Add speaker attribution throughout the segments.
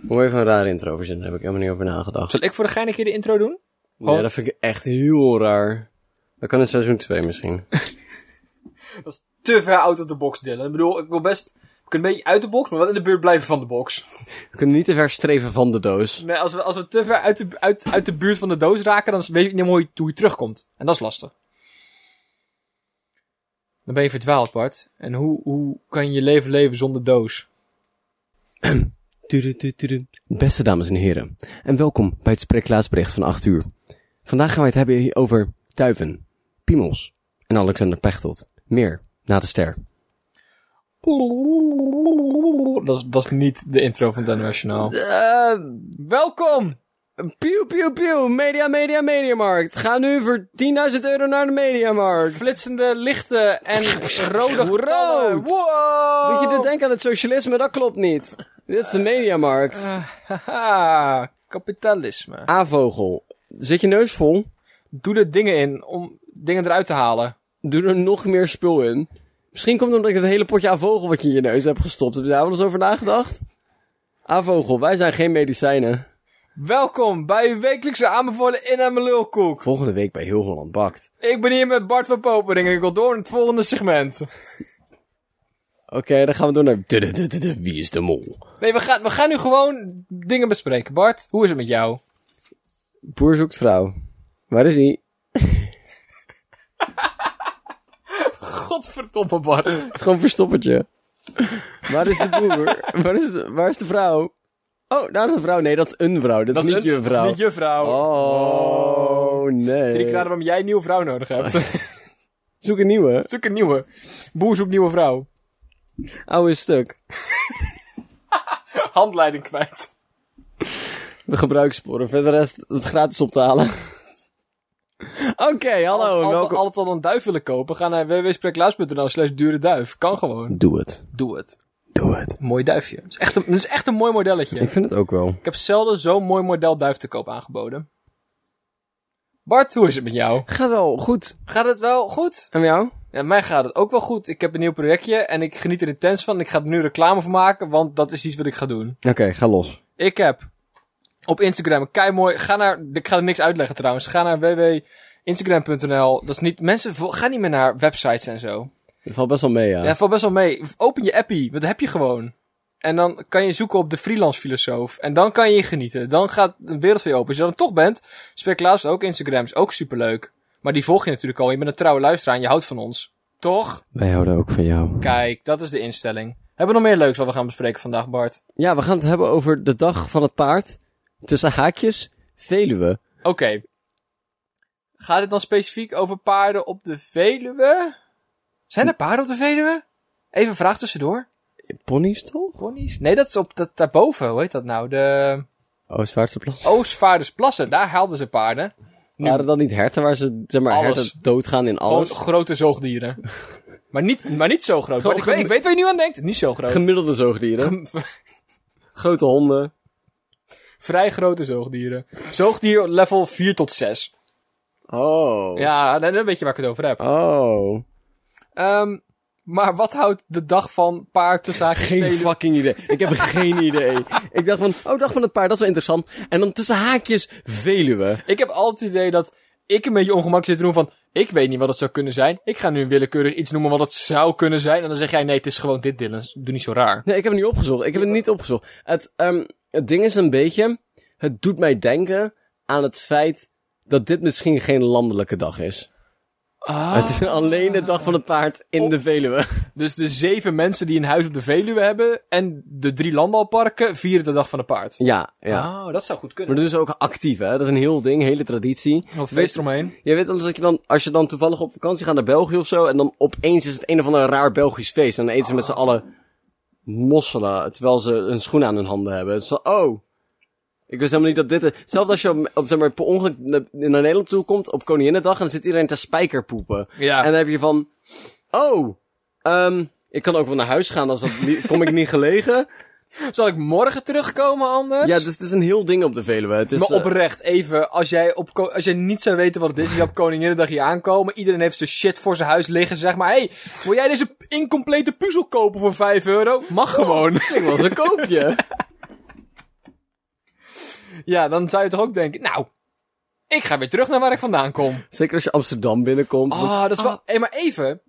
Speaker 1: Moet even een rare intro verzinnen, daar heb ik helemaal niet over nagedacht.
Speaker 2: Zal ik voor de gein een keer de intro doen?
Speaker 1: Ja, dat vind ik echt heel raar. Dat kan in seizoen 2 misschien.
Speaker 2: Dat is te ver out of the box, Dylan. Ik bedoel, ik wil best... We kunnen een beetje uit de box, maar wel in de buurt blijven van de box.
Speaker 1: We kunnen niet te ver streven van de doos.
Speaker 2: Nee, als we, als we te ver uit de, uit, uit de buurt van de doos raken, dan weet je niet mooi hoe je terugkomt. En dat is lastig. Dan ben je verdwaald, Bart. En hoe, hoe kan je je leven leven zonder doos?
Speaker 1: Tudu, tudu, tudu. Beste dames en heren, en welkom bij het spreeklaatsbericht van 8 uur. Vandaag gaan wij het hebben hier over duiven, piemels en Alexander Pechtold. Meer na de ster.
Speaker 2: Dat is, dat is niet de intro van het Nationaal. Eh, Welkom!
Speaker 1: Pew, pew, pew. Media, media, mediamarkt. Ga nu voor 10.000 euro naar de mediamarkt.
Speaker 2: Flitsende lichten en rode getallen.
Speaker 1: Rood.
Speaker 2: Wow!
Speaker 1: Moet je dit denken aan het socialisme? Dat klopt niet. Dit is de mediamarkt.
Speaker 2: Haha, kapitalisme.
Speaker 1: A-vogel. Zit je neus vol?
Speaker 2: Doe er dingen in om dingen eruit te halen.
Speaker 1: Doe er nog meer spul in. Misschien komt het omdat ik dat hele potje A-vogel wat je in je neus hebt gestopt. Heb je daar wel eens over nagedacht? A-vogel, wij zijn geen medicijnen.
Speaker 2: Welkom bij uw wekelijkse aanbevolen in en lulkoek.
Speaker 1: Volgende week bij Heel Holland Bakt.
Speaker 2: Ik ben hier met Bart van Popering en ik wil door naar het volgende segment.
Speaker 1: Oké, dan gaan we door naar... Dududududu, Wie is de mol?
Speaker 2: Nee, we gaan, we gaan nu gewoon dingen bespreken. Bart, hoe is het met jou?
Speaker 1: Boer zoekt vrouw. Waar is hij?
Speaker 2: Godverdomme, Bart.
Speaker 1: Het is gewoon een verstoppertje. Waar is de boer? waar, is de, waar is de vrouw? Oh, daar is een vrouw. Nee, dat is een vrouw. Dat, is niet je vrouw.
Speaker 2: Niet je vrouw. eh.
Speaker 1: Oh, nee.
Speaker 2: Drie keer waarom jij een nieuwe vrouw nodig hebt.
Speaker 1: Zoek een nieuwe.
Speaker 2: Zoek een nieuwe. Boer zoekt nieuwe vrouw.
Speaker 1: Oude stuk.
Speaker 2: Handleiding kwijt.
Speaker 1: De gebruikssporen. Verder rest het gratis op te halen. Oké, hallo.
Speaker 2: Al- al-
Speaker 1: welkom.
Speaker 2: Altijd al een duif willen kopen, ga naar www.spreeklaas.nl slash dure duif. Kan gewoon.
Speaker 1: Doe het.
Speaker 2: Doe het.
Speaker 1: Doe het.
Speaker 2: Mooi duifje. Het is echt een, het is echt een mooi modelletje.
Speaker 1: Ik vind het ook wel.
Speaker 2: Ik heb zelden zo'n mooi model duif te koop aangeboden. Bart, hoe is het met jou?
Speaker 1: Gaat wel goed.
Speaker 2: Gaat het wel goed?
Speaker 1: En met jou?
Speaker 2: Ja, mij gaat het ook wel goed. Ik heb een nieuw projectje en ik geniet er intens van. Ik ga er nu reclame van maken, want dat is iets wat ik ga doen.
Speaker 1: Oké, ga los.
Speaker 2: Ik heb op Instagram een keimooi... Ga naar... Ik ga er niks uitleggen trouwens. Ga naar www.instagram.nl. Dat is niet... Mensen, vo- ga niet meer naar websites en zo.
Speaker 1: Het valt best wel mee, ja.
Speaker 2: Ja, valt best wel mee. Open je appie. Wat heb je gewoon? En dan kan je zoeken op de freelance filosoof. En dan kan je genieten. Dan gaat een wereld voor je open. Als je dan toch bent, Spek Klaas ook Instagram. Is ook superleuk. Maar die volg je natuurlijk al. Je bent een trouwe luisteraar en je houdt van ons. Toch?
Speaker 1: Wij houden ook van jou.
Speaker 2: Kijk, dat is de instelling. Hebben we nog meer leuks wat we gaan bespreken vandaag, Bart?
Speaker 1: Ja, we gaan het hebben over de dag van het paard. Tussen haakjes, Veluwe.
Speaker 2: Oké. Gaat dit dan specifiek over paarden op de Veluwe? Zijn er paarden op de Veluwe? Even een vraag tussendoor.
Speaker 1: Ponies toch?
Speaker 2: Ponies? Nee, dat is op dat, daarboven. Hoe heet dat nou? De...
Speaker 1: Oh, Zwaardse Plas.
Speaker 2: Oostvaardersplassen, daar haalden ze paarden. nu-
Speaker 1: Waren dat niet herten waar ze, zeg maar,
Speaker 2: Alles.
Speaker 1: herten doodgaan in
Speaker 2: Gewoon
Speaker 1: alles?
Speaker 2: grote zoogdieren. maar, niet, maar niet zo groot.
Speaker 1: Gewoon
Speaker 2: Bart, ik, weet,
Speaker 1: gem-
Speaker 2: ik weet waar je nu aan denkt. Niet zo groot.
Speaker 1: Gemiddelde zoogdieren. Grote honden.
Speaker 2: Vrij grote zoogdieren. Zoogdier level 4 tot 6.
Speaker 1: Oh.
Speaker 2: Ja, dan dan weet je waar ik het over heb.
Speaker 1: Oh.
Speaker 2: Ehm, maar wat houdt de dag van paard tussen haakjes
Speaker 1: Geen
Speaker 2: velen-
Speaker 1: fucking idee. Ik heb geen idee. Ik dacht van, oh, dag van het paard, dat is wel interessant. En dan tussen haakjes Veluwe.
Speaker 2: Ik heb altijd het idee dat ik een beetje ongemak zit te doen van... Ik weet niet wat het zou kunnen zijn. Ik ga nu willekeurig iets noemen wat het zou kunnen zijn. En dan zeg jij, nee, het is gewoon dit, Dylan. Doe niet zo raar.
Speaker 1: Nee, ik heb het niet opgezocht. Ik heb het niet opgezocht. Het, ehm, het ding is een beetje, het doet mij denken aan het feit dat dit misschien geen landelijke dag is. Het is alleen de dag van het paard in de Veluwe.
Speaker 2: Dus de zeven mensen die een huis op de Veluwe hebben en de drie landbouwparken vieren de dag van het paard.
Speaker 1: Ja, ja.
Speaker 2: Oh, dat zou goed
Speaker 1: Maar
Speaker 2: kunnen.
Speaker 1: dat is ook actief, hè? Dat is een heel ding, hele traditie.
Speaker 2: Een feest eromheen.
Speaker 1: Je weet anders dat je dan, als je dan toevallig op vakantie gaat naar België of zo, en dan opeens is het een of ander raar Belgisch feest. En dan eten ze met z'n allen mosselen, terwijl ze een schoen aan hun handen hebben. Het is van, oh, ik wist helemaal niet dat dit... Zelfs als je op, op, zeg maar, per ongeluk naar naar Nederland toe komt op Koninginnedag, en dan zit iedereen te spijkerpoepen.
Speaker 2: Ja.
Speaker 1: En dan heb je van, oh, ehm, ik kan ook wel naar huis gaan, als dat niet- kom ik niet gelegen.
Speaker 2: Zal ik morgen terugkomen anders?
Speaker 1: Ja, dus het is een heel ding op de Veluwe. Het is,
Speaker 2: maar
Speaker 1: eh,
Speaker 2: oprecht, even, als jij, op, ko- als jij niet zou weten wat het is, je zou op Koninginnedag hier aankomen, iedereen heeft zijn shit voor zijn huis liggen, zeg maar, hey, wil jij deze incomplete puzzel kopen voor 5 euro? Mag gewoon.
Speaker 1: Ik was een koopje.
Speaker 2: Ja, dan zou je toch ook denken, nou, ik ga weer terug naar waar ik vandaan kom.
Speaker 1: Zeker als je Amsterdam binnenkomt.
Speaker 2: Ah, dat is wel... Hé, maar even.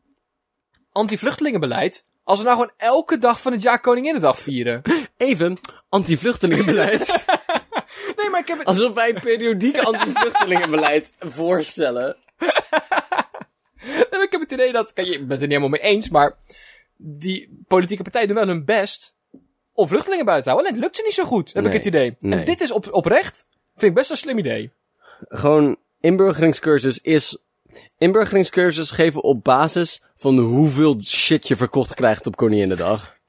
Speaker 2: Anti-vluchtelingenbeleid. Als we nou gewoon elke dag van het jaar Koninginnedag vieren.
Speaker 1: Even anti-vluchtelingenbeleid.
Speaker 2: Nee, maar ik heb... het-
Speaker 1: Alsof wij een periodiek anti-vluchtelingenbeleid voorstellen.
Speaker 2: Nee, maar ik heb het idee dat... Ah. Kijk, je bent het er niet helemaal mee eens, maar... Die politieke partijen doen wel hun best om vluchtelingen buiten te houden. Alleen het lukt ze niet zo goed, heb
Speaker 1: Nee,
Speaker 2: ik het idee.
Speaker 1: nee.
Speaker 2: En dit is op, oprecht, vind ik best een slim idee.
Speaker 1: Gewoon, inburgeringscursus is... Inburgeringscursus geven op basis van hoeveel shit je verkocht krijgt op Koninginnedag.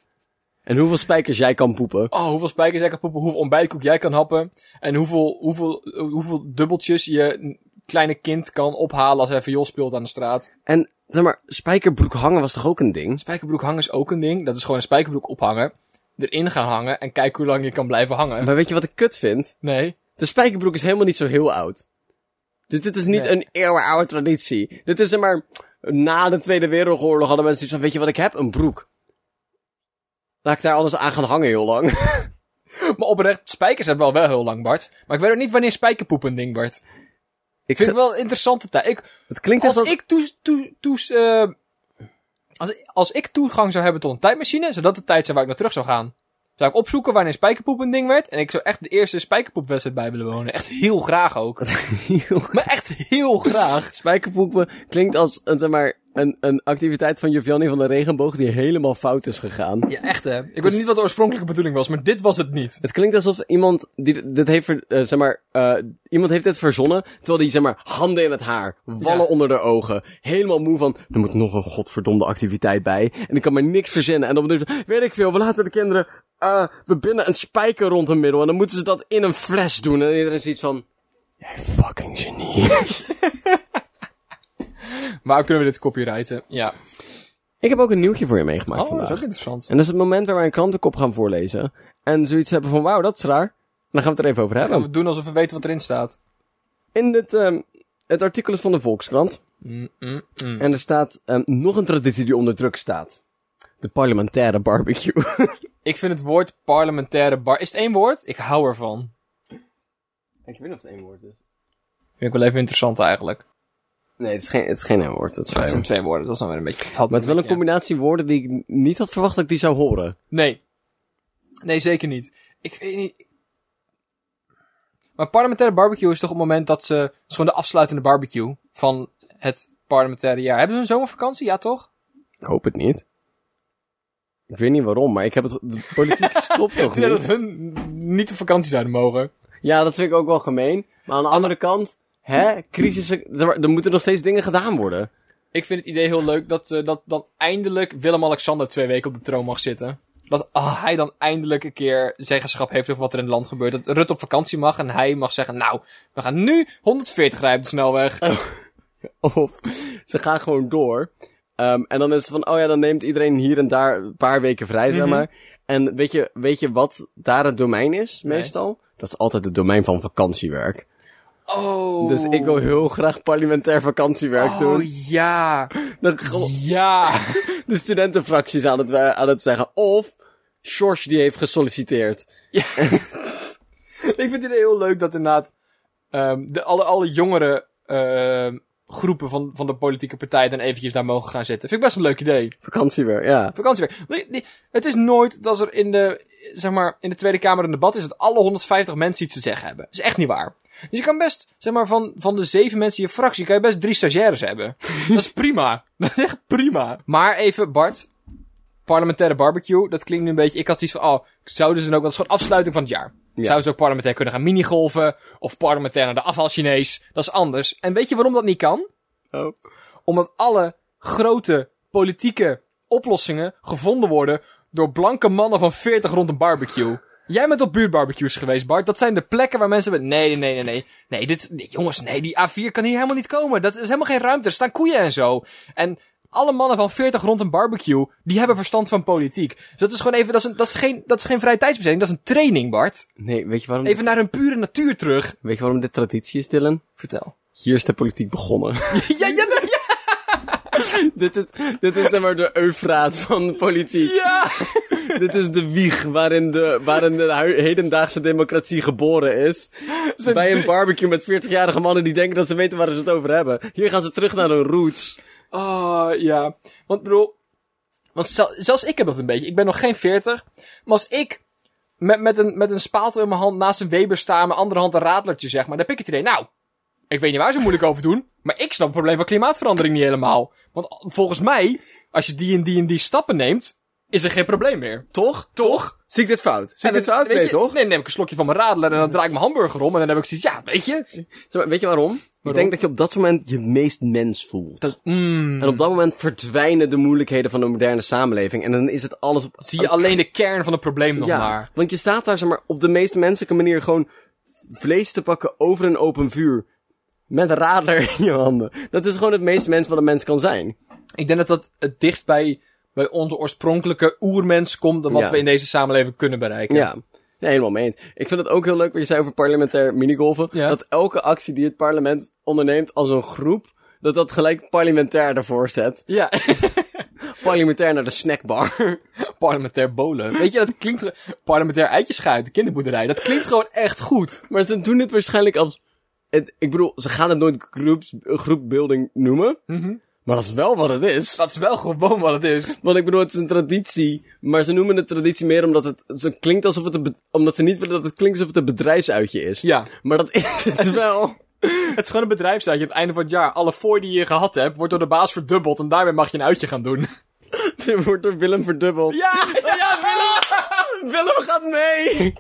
Speaker 1: En hoeveel spijkers jij kan poepen.
Speaker 2: Oh, hoeveel spijkers jij kan poepen, hoeveel ontbijtkoek jij kan happen. En hoeveel, hoeveel, hoeveel dubbeltjes je n- kleine kind kan ophalen als hij viool speelt aan de straat.
Speaker 1: En, zeg maar, spijkerbroek hangen was toch ook een ding?
Speaker 2: Spijkerbroek hangen is ook een ding. Dat is gewoon een spijkerbroek ophangen. Erin gaan hangen en kijken hoe lang je kan blijven hangen.
Speaker 1: Maar weet je wat ik kut vind?
Speaker 2: Nee.
Speaker 1: De spijkerbroek is helemaal niet zo heel oude. Dus dit is niet
Speaker 2: Nee.
Speaker 1: een eeuwenoude traditie. Dit is zeg maar... Na de Tweede Wereldoorlog hadden mensen zoiets van... Weet je wat ik heb? Een broek. Laat ik daar alles aan gaan hangen heel lang.
Speaker 2: Maar oprecht, spijkers hebben we al wel heel lang, Bart. Maar ik weet ook niet wanneer spijkerpoep een ding, Bart.
Speaker 1: Ik
Speaker 2: Vind ik wel een interessante tijd. Ik,
Speaker 1: het klinkt
Speaker 2: als,
Speaker 1: alsof-
Speaker 2: ik toes, toes, toes, eh, als, als ik toegang zou hebben tot een tijdmachine, zodat de tijd zou waar ik naar terug zou gaan. Zou ik opzoeken wanneer spijkerpoep een ding werd. En ik zou echt de eerste spijkerpoepwedstrijd bij willen wonen. Echt heel graag ook. maar echt heel graag.
Speaker 1: Spijkerpoepen eh, klinkt als een, zeg maar, een, een activiteit van Giovanni van de Regenboog die helemaal fout is gegaan.
Speaker 2: Ja, echt hè. Ik weet niet wat de oorspronkelijke bedoeling was, maar dit was het niet.
Speaker 1: Het klinkt alsof iemand die dit heeft, ver- eh, zeg maar, eh, iemand heeft dit verzonnen, terwijl die, zeg maar, handen in het haar, wallen
Speaker 2: Ja.
Speaker 1: onder de ogen, helemaal moe van, er moet nog een godverdomde activiteit bij, en ik kan maar niks verzinnen. En dan bedoel je, weet ik veel, we laten de kinderen, eh, we binden een spijker rond hun middel, en dan moeten ze dat in een fles doen, en iedereen is iets van, jij fucking genie.
Speaker 2: Waarom kunnen we dit copyrighten? Ja.
Speaker 1: ik heb ook een nieuwtje voor je meegemaakt
Speaker 2: Oh, dat
Speaker 1: vandaag.
Speaker 2: is ook interessant.
Speaker 1: En dat is het moment waar wij een krantenkop gaan voorlezen. En zoiets hebben van, wauw, dat is raar. En dan gaan we het er even over
Speaker 2: Gaan
Speaker 1: hebben.
Speaker 2: we doen alsof we weten wat erin staat.
Speaker 1: In het, ehm, het artikel is van de Volkskrant.
Speaker 2: Mm, mm, mm.
Speaker 1: En er staat ehm, nog een traditie die onder druk staat. De parlementaire barbecue.
Speaker 2: Ik vind het woord parlementaire bar... Is het één woord? Ik hou ervan.
Speaker 1: Ik weet niet of het één woord is.
Speaker 2: Vind ik wel even interessant eigenlijk.
Speaker 1: Nee, het is geen, het is geen één woord. Het is
Speaker 2: Dat
Speaker 1: twee
Speaker 2: zijn
Speaker 1: woorden.
Speaker 2: twee woorden, dat is dan weer een beetje...
Speaker 1: Maar het is wel een combinatie woorden die ik n- niet had verwacht dat ik die zou horen.
Speaker 2: Nee. Nee, zeker niet. Ik weet niet... Maar parlementaire barbecue is toch op het moment dat ze... Het is gewoon de afsluitende barbecue van het parlementaire jaar. Hebben ze een zomervakantie? Ja, toch?
Speaker 1: Ik hoop het niet. Ik weet niet waarom, maar ik heb het... De politiek stopt toch
Speaker 2: Ik vind dat
Speaker 1: niet?
Speaker 2: hun niet op vakantie zouden mogen.
Speaker 1: Ja, dat vind ik ook wel gemeen. Maar aan de andere kant... Hè? Crisissen... Er er moeten nog steeds dingen gedaan worden.
Speaker 2: Ik vind het idee heel leuk dat, eh, dat dan eindelijk Willem-Alexander twee weken op de troon mag zitten. Dat ah, hij dan eindelijk een keer zeggenschap heeft over wat er in het land gebeurt. Dat Rut op vakantie mag en hij mag zeggen, nou, we gaan nu 140 rijden op de snelweg.
Speaker 1: Oh. Of ze gaan gewoon door. Ehm, en dan is het van, oh ja, dan neemt iedereen hier en daar een paar weken vrij, zeg maar. En weet je, weet je wat daar het domein is,
Speaker 2: Nee.
Speaker 1: meestal? Dat is altijd het domein van vakantiewerk.
Speaker 2: Oh.
Speaker 1: Dus ik wil heel graag parlementair vakantiewerk doen.
Speaker 2: ja.
Speaker 1: Dan gewoon
Speaker 2: Ja.
Speaker 1: de studentenfracties aan het, eh, aan het zeggen. Of, George die heeft gesolliciteerd.
Speaker 2: ik vind het idee heel leuk dat inderdaad ehm, de, alle, alle jongere ehm, groepen van, van de politieke partij dan eventjes daar mogen gaan zitten. Vind ik best een leuk idee.
Speaker 1: Vakantiewerk, ja.
Speaker 2: Vakantiewerk. Nee, nee, Het is nooit dat als er in de, zeg maar, in de Tweede Kamer een debat is dat alle 150 mensen iets te zeggen hebben. Dat is echt niet waar. Dus je kan best, zeg maar, van, van de zeven mensen in je fractie, kan je best drie stagiaires hebben. dat is prima. Dat is echt prima. Maar even, Bart. Parlementaire barbecue, dat klinkt nu een beetje. Ik had iets van, oh, zouden ze dan ook, want het is gewoon afsluiting van het jaar.
Speaker 1: Ja.
Speaker 2: Zouden ze ook parlementair kunnen gaan minigolven? Of parlementair naar de afvalchinees? Dat is anders. En weet je waarom dat niet kan?
Speaker 1: Oh.
Speaker 2: Omdat alle grote politieke oplossingen gevonden worden door blanke mannen van 40 rond een barbecue. Jij bent op buurtbarbecues geweest, Bart. Dat zijn de plekken waar mensen... met- Nee, nee, nee, nee, nee. Nee, dit... nee, jongens, nee, die A4 kan hier helemaal niet komen. Dat is helemaal geen ruimte. Er staan koeien en zo. En alle mannen van 40 rond een barbecue, die hebben verstand van politiek. Dus dat is gewoon even... Dat is, een, dat is, geen, dat is geen vrije tijdsbesteding. Dat is een training, Bart.
Speaker 1: Nee, weet je waarom,
Speaker 2: Even naar hun pure natuur terug.
Speaker 1: weet je waarom dit traditie is, Dylan?
Speaker 2: Vertel.
Speaker 1: Hier is de politiek begonnen.
Speaker 2: ja, ja, ja.
Speaker 1: dit is, dit is zeg maar de eufraat van de politiek.
Speaker 2: Ja!
Speaker 1: Dit is de wieg waarin de, waarin de hu- hedendaagse democratie geboren is. Bij een barbecue met 40-jarige mannen die denken dat ze weten waar ze het over hebben. Hier gaan ze terug naar hun roots.
Speaker 2: Ah, ja. Want bedoel, want zel- zelfs ik heb dat een beetje. Ik ben nog geen 40. Maar als ik met, met, een, met een spaaltje in mijn hand naast een Weber sta en mijn andere hand een radlertje zeg maar, dan heb ik het idee, nou, ik weet niet waar ze moeilijk over doen, maar ik snap het probleem van klimaatverandering niet helemaal. Want volgens mij, als je die en die en die stappen neemt, is er geen probleem meer.
Speaker 1: Toch?
Speaker 2: Toch?
Speaker 1: Zie ik dit fout? Zie ik
Speaker 2: En
Speaker 1: dit
Speaker 2: dan-
Speaker 1: fout?
Speaker 2: weet
Speaker 1: Nee,
Speaker 2: je-
Speaker 1: toch?
Speaker 2: Nee, dan neem ik een slokje van mijn radler en dan draai ik mijn hamburger om en dan heb ik zoiets, ja, weet je.
Speaker 1: Zeg maar, weet je waarom? Ik
Speaker 2: Waarom?
Speaker 1: denk dat je op dat moment je meest mens voelt.
Speaker 2: Mm.
Speaker 1: En op dat moment verdwijnen de moeilijkheden van de moderne samenleving. En dan is het alles op...
Speaker 2: Zie je alleen de kern van het probleem nog maar.
Speaker 1: Want je staat daar zeg maar, op de meest menselijke manier gewoon vlees te pakken over een open vuur. Met een radler in je handen. Dat is gewoon het meest mens wat een mens kan zijn.
Speaker 2: Ik denk dat dat het dichtst bij, bij onze oorspronkelijke oermens komt dan wat
Speaker 1: Ja.
Speaker 2: we in deze samenleving kunnen bereiken.
Speaker 1: Ja. Nee, helemaal mee eens. Ik vind het ook heel leuk wat je zei over parlementair minigolven.
Speaker 2: Ja.
Speaker 1: Dat elke actie die het parlement onderneemt als een groep, dat dat gelijk parlementair ervoor zet.
Speaker 2: Ja,
Speaker 1: Parlementair naar de snackbar.
Speaker 2: parlementair bolen. Weet je, dat klinkt... ge- Parlementair eitjes uit de kinderboerderij. Dat klinkt gewoon echt goed.
Speaker 1: maar ze doen dit waarschijnlijk als... het- ik bedoel, ze gaan het nooit groeps, groepbuilding noemen.
Speaker 2: Mhm.
Speaker 1: Maar dat is wel wat het is.
Speaker 2: Dat is wel gewoon wat het is.
Speaker 1: Want ik bedoel, het is een traditie, maar ze noemen het traditie meer omdat het ze klinkt alsof het een be- omdat ze niet willen dat het klinkt alsof het een bedrijfsuitje is.
Speaker 2: Ja.
Speaker 1: Maar dat is het wel.
Speaker 2: Het is gewoon een bedrijfsuitje. Aan het einde van het jaar, alle fooi die je gehad hebt, wordt door de baas verdubbeld. En daarmee mag je een uitje gaan doen.
Speaker 1: Dit wordt door Willem verdubbeld.
Speaker 2: Ja, ja, ja, Willem!
Speaker 1: Willem gaat mee!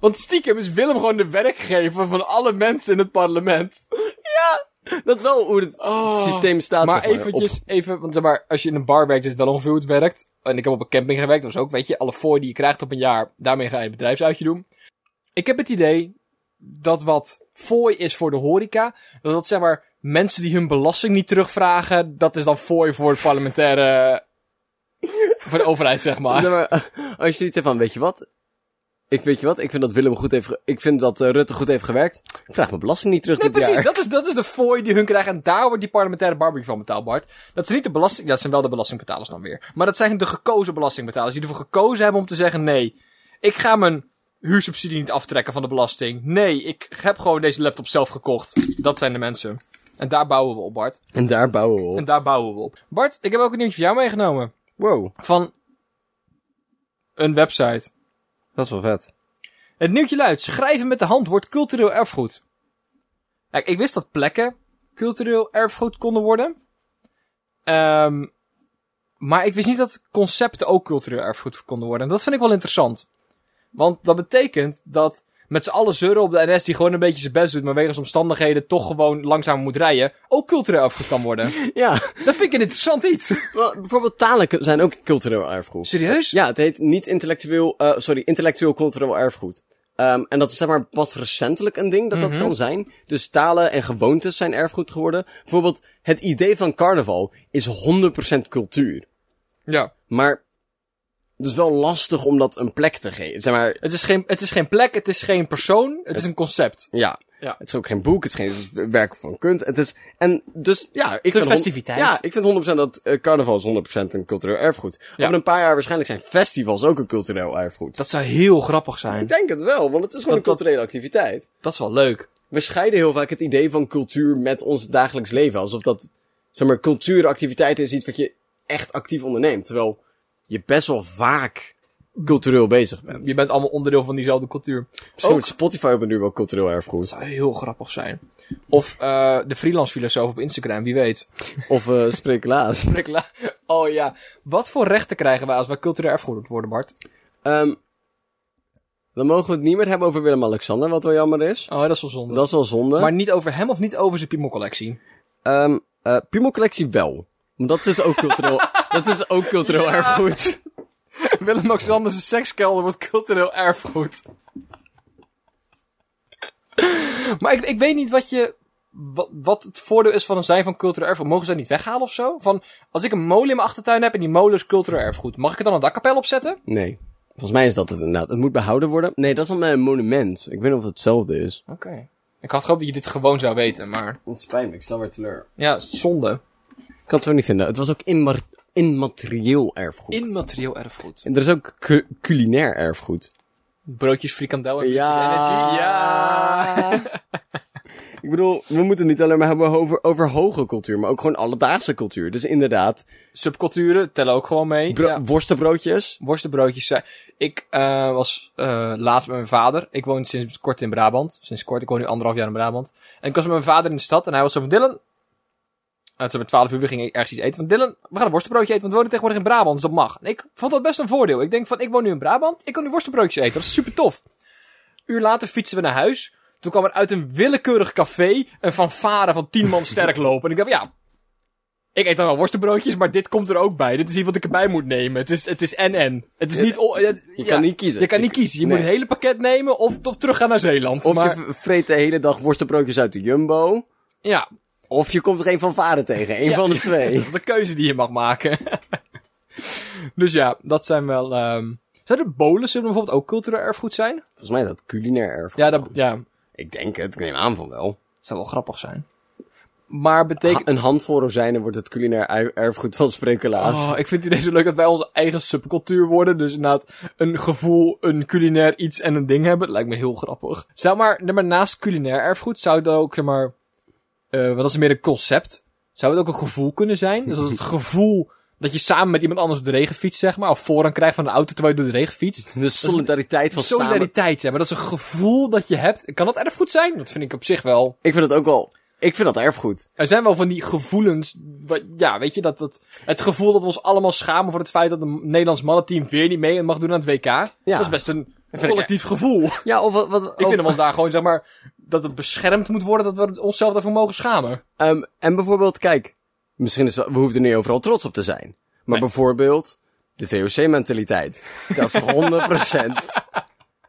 Speaker 2: Want stiekem is Willem gewoon de werkgever van alle mensen in het parlement.
Speaker 1: Ja! Dat is wel hoe het
Speaker 2: Oh.
Speaker 1: systeem staat.
Speaker 2: Maar
Speaker 1: zeg maar,
Speaker 2: eventjes, even, want zeg maar, als je in een bar werkt, is het wel ongeveer hoe het werkt. En ik heb op een camping gewerkt, dat was ook, weet je, alle fooi die je krijgt op een jaar, daarmee ga je een bedrijfsuitje doen. Ik heb het idee dat wat fooi is voor de horeca, dat dat zeg maar, mensen die hun belasting niet terugvragen, dat is dan fooi voor het parlementaire, voor de overheid, zeg
Speaker 1: op.
Speaker 2: maar.
Speaker 1: Zeg maar, eh, als je zoiets hebt van, weet je wat? Ik weet je wat? Ik vind dat Willem goed heeft. ge- Ik vind dat eh, Rutte goed heeft gewerkt. Ik vraag mijn belasting niet terug
Speaker 2: Nee,
Speaker 1: dit
Speaker 2: precies,
Speaker 1: jaar.
Speaker 2: dat is, dat is de fooi die hun krijgen en daar wordt die parlementaire barbecue van betaald, Bart. Dat zijn niet de belasting, ja, dat zijn wel de belastingbetalers dan weer. Maar dat zijn de gekozen belastingbetalers die ervoor gekozen hebben om te zeggen, nee, ik ga mijn huursubsidie niet aftrekken van de belasting. Nee, ik heb gewoon deze laptop zelf gekocht. Dat zijn de mensen. En daar bouwen we op, Bart.
Speaker 1: En daar bouwen we
Speaker 2: En
Speaker 1: op.
Speaker 2: daar bouwen we op. Bart, ik heb ook een nieuwtje voor jou meegenomen.
Speaker 1: Wow,
Speaker 2: Van een website.
Speaker 1: dat is wel vet.
Speaker 2: Het nieuwtje luidt: schrijven met de hand wordt cultureel erfgoed. Kijk, ik wist dat plekken cultureel erfgoed konden worden. Ehm, maar ik wist niet dat concepten ook cultureel erfgoed konden worden. En dat vind ik wel interessant. Want dat betekent dat met z'n allen zeuren op de NS die gewoon een beetje zijn best doet, maar wegens omstandigheden toch gewoon langzaam moet rijden, ook cultureel erfgoed kan worden.
Speaker 1: Ja,
Speaker 2: dat vind ik een interessant iets.
Speaker 1: wel, bijvoorbeeld talen k- zijn ook cultureel erfgoed.
Speaker 2: Serieus?
Speaker 1: Ja, het heet niet intellectueel, eh, sorry, intellectueel cultureel erfgoed. Ehm, en dat is zeg maar pas recentelijk een ding dat
Speaker 2: Mhm.
Speaker 1: dat kan zijn. Dus talen en gewoontes zijn erfgoed geworden. Bijvoorbeeld, het idee van carnaval is 100% cultuur.
Speaker 2: Ja.
Speaker 1: Maar het is wel lastig om dat een plek te geven. Zeg maar,
Speaker 2: Het is, geen, het is geen plek, het is geen persoon, het is een concept.
Speaker 1: ja.
Speaker 2: Ja.
Speaker 1: Het is ook geen boek, het is geen werk van kunst. Het is, en dus, ja, ik
Speaker 2: een
Speaker 1: vind...
Speaker 2: festiviteit.
Speaker 1: Ja, ik vind 100% dat eh, carnaval is 100% een cultureel erfgoed.
Speaker 2: Ja.
Speaker 1: Over een paar jaar waarschijnlijk zijn festivals ook een cultureel erfgoed.
Speaker 2: Dat zou heel grappig zijn.
Speaker 1: Ik denk het wel, want het is gewoon
Speaker 2: Dat-
Speaker 1: een culturele activiteit.
Speaker 2: Dat is wel leuk.
Speaker 1: We scheiden heel vaak het idee van cultuur met ons dagelijks leven. Alsof dat, zeg maar, cultuuractiviteit is iets wat je echt actief onderneemt. Terwijl je best wel vaak cultureel bezig bent.
Speaker 2: Je bent allemaal onderdeel van diezelfde cultuur.
Speaker 1: Misschien wordt Spotify op een duur wel cultureel erfgoed.
Speaker 2: Dat zou heel grappig zijn. Of eh, de freelance filosoof op Instagram, wie weet.
Speaker 1: Of eh Sprekelaas.
Speaker 2: Rick La- Oh ja. Wat voor rechten krijgen wij als wij cultureel erfgoed worden, Bart?
Speaker 1: Ehm dan mogen we het niet meer hebben over Willem-Alexander, wat wel jammer is.
Speaker 2: Oh, dat is wel zonde.
Speaker 1: Dat is wel zonde.
Speaker 2: Maar niet over hem of niet over zijn Pimel-collectie.
Speaker 1: Ehm eh Piemelcollectie wel. Want Dat is ook cultureel, dat is ook cultureel erfgoed.
Speaker 2: Willem-Alexander zijn sekskelder wordt cultureel erfgoed. maar ik, ik weet niet wat je... Wat, wat het voordeel is van een zijn van cultureel erfgoed. Mogen ze dat niet weghalen of zo? Van, als ik een molen in mijn achtertuin heb en die molen is cultureel erfgoed. Mag ik er dan een dakkapel op zetten?
Speaker 1: Nee. Volgens mij is dat het inderdaad. Het moet behouden worden. Nee, dat is dan bij een monument. Ik weet niet of het hetzelfde is.
Speaker 2: Oké. Ik had gehoopt dat je dit gewoon zou weten, maar...
Speaker 1: Het spijt me, ik sta weer teleur.
Speaker 2: Ja, zonde.
Speaker 1: kan het zo niet vinden. Het was ook inmar- immaterieel erfgoed.
Speaker 2: Immaterieel erfgoed.
Speaker 1: en er is ook cu- culinair erfgoed.
Speaker 2: Broodjes frikandel en broodjes energy.
Speaker 1: Ja. Ik bedoel, we moeten het niet alleen maar hebben over, over hoge cultuur, maar ook gewoon alledaagse cultuur. Dus inderdaad,
Speaker 2: Subculturen tellen ook gewoon mee.
Speaker 1: bro-
Speaker 2: Ja.
Speaker 1: worstenbroodjes.
Speaker 2: Worstenbroodjes zijn... Ik eh, was eh, laatst met mijn vader. Ik woon sinds kort in Brabant. Sinds kort. Ik woon nu anderhalf jaar in Brabant. En ik was met mijn vader in de stad. En hij was zo van Dylan... En toen om 12 uur we gingen ergens iets eten. Van Dylan, we gaan een worstenbroodje eten. Want we wonen tegenwoordig in Brabant. Dus dat mag. En ik vond dat best een voordeel. Ik denk van, ik woon nu in Brabant. Ik kan nu worstenbroodjes eten. Dat is super tof. Uur later fietsen we naar huis. Toen kwam er uit een willekeurig café een fanfare van 10 man sterk lopen. En ik dacht, ja, ik eet dan wel worstenbroodjes, maar dit komt er ook bij. Dit is iets wat ik erbij moet nemen. Het is, het is en-en. Het is niet... o- het-
Speaker 1: Je
Speaker 2: ja,
Speaker 1: kan niet kiezen.
Speaker 2: Je kan niet kiezen. Je
Speaker 1: Nee.
Speaker 2: moet het hele pakket nemen of, of teruggaan naar Zeeland.
Speaker 1: Of
Speaker 2: maar,
Speaker 1: je v- vreet de hele dag worstenbroodjes uit de Jumbo.
Speaker 2: ja,
Speaker 1: Of je komt er een van varen tegen. Een
Speaker 2: Ja.
Speaker 1: van de twee.
Speaker 2: dat is een keuze die je mag maken. dus ja, dat zijn wel... ehm Zouden bolussen bijvoorbeeld ook cultureel erfgoed zijn?
Speaker 1: Volgens mij is dat culinair erfgoed.
Speaker 2: Ja, dat, ja,
Speaker 1: Ik denk het. Ik neem aan van wel.
Speaker 2: zou wel grappig zijn. Maar betekent...
Speaker 1: Ha- een handvol rozijnen wordt het culinair ei- erfgoed van Sprekelaas.
Speaker 2: Oh, ik vind het idee zo leuk dat wij onze eigen subcultuur worden. Dus inderdaad, een gevoel, een culinair iets en een ding hebben. Dat lijkt me heel grappig. Zou maar, nee, maar naast culinair erfgoed zou het dan ook, zeg maar, eh want dat is meer een concept. Zou het ook een gevoel kunnen zijn? Dus dat het gevoel dat je samen met iemand anders op de regen fietst, zeg maar. Of voorrang krijgt van een auto terwijl je door de regen fietst.
Speaker 1: De solidariteit van samen.
Speaker 2: Solidariteit, hè. Maar dat is een gevoel dat je hebt. Kan dat erfgoed zijn? Dat vind ik op zich wel.
Speaker 1: Ik vind dat ook wel... Ik vind dat erfgoed.
Speaker 2: Er zijn wel van die gevoelens. wat- Ja, weet je, dat, dat, het gevoel dat we ons allemaal schamen voor het feit dat een Nederlands mannenteam weer niet mee mag doen aan het WK. Dat is best een
Speaker 1: ik-
Speaker 2: collectief gevoel. Ik
Speaker 1: Ja, of wat... wat
Speaker 2: vind hem als daar gewoon, zeg maar, dat het beschermd moet worden dat we onszelf daarvoor mogen schamen.
Speaker 1: Ehm, en bijvoorbeeld, kijk, misschien is we hoeven er niet overal trots op te zijn. Maar bijvoorbeeld de VOC-mentaliteit. Dat is 100%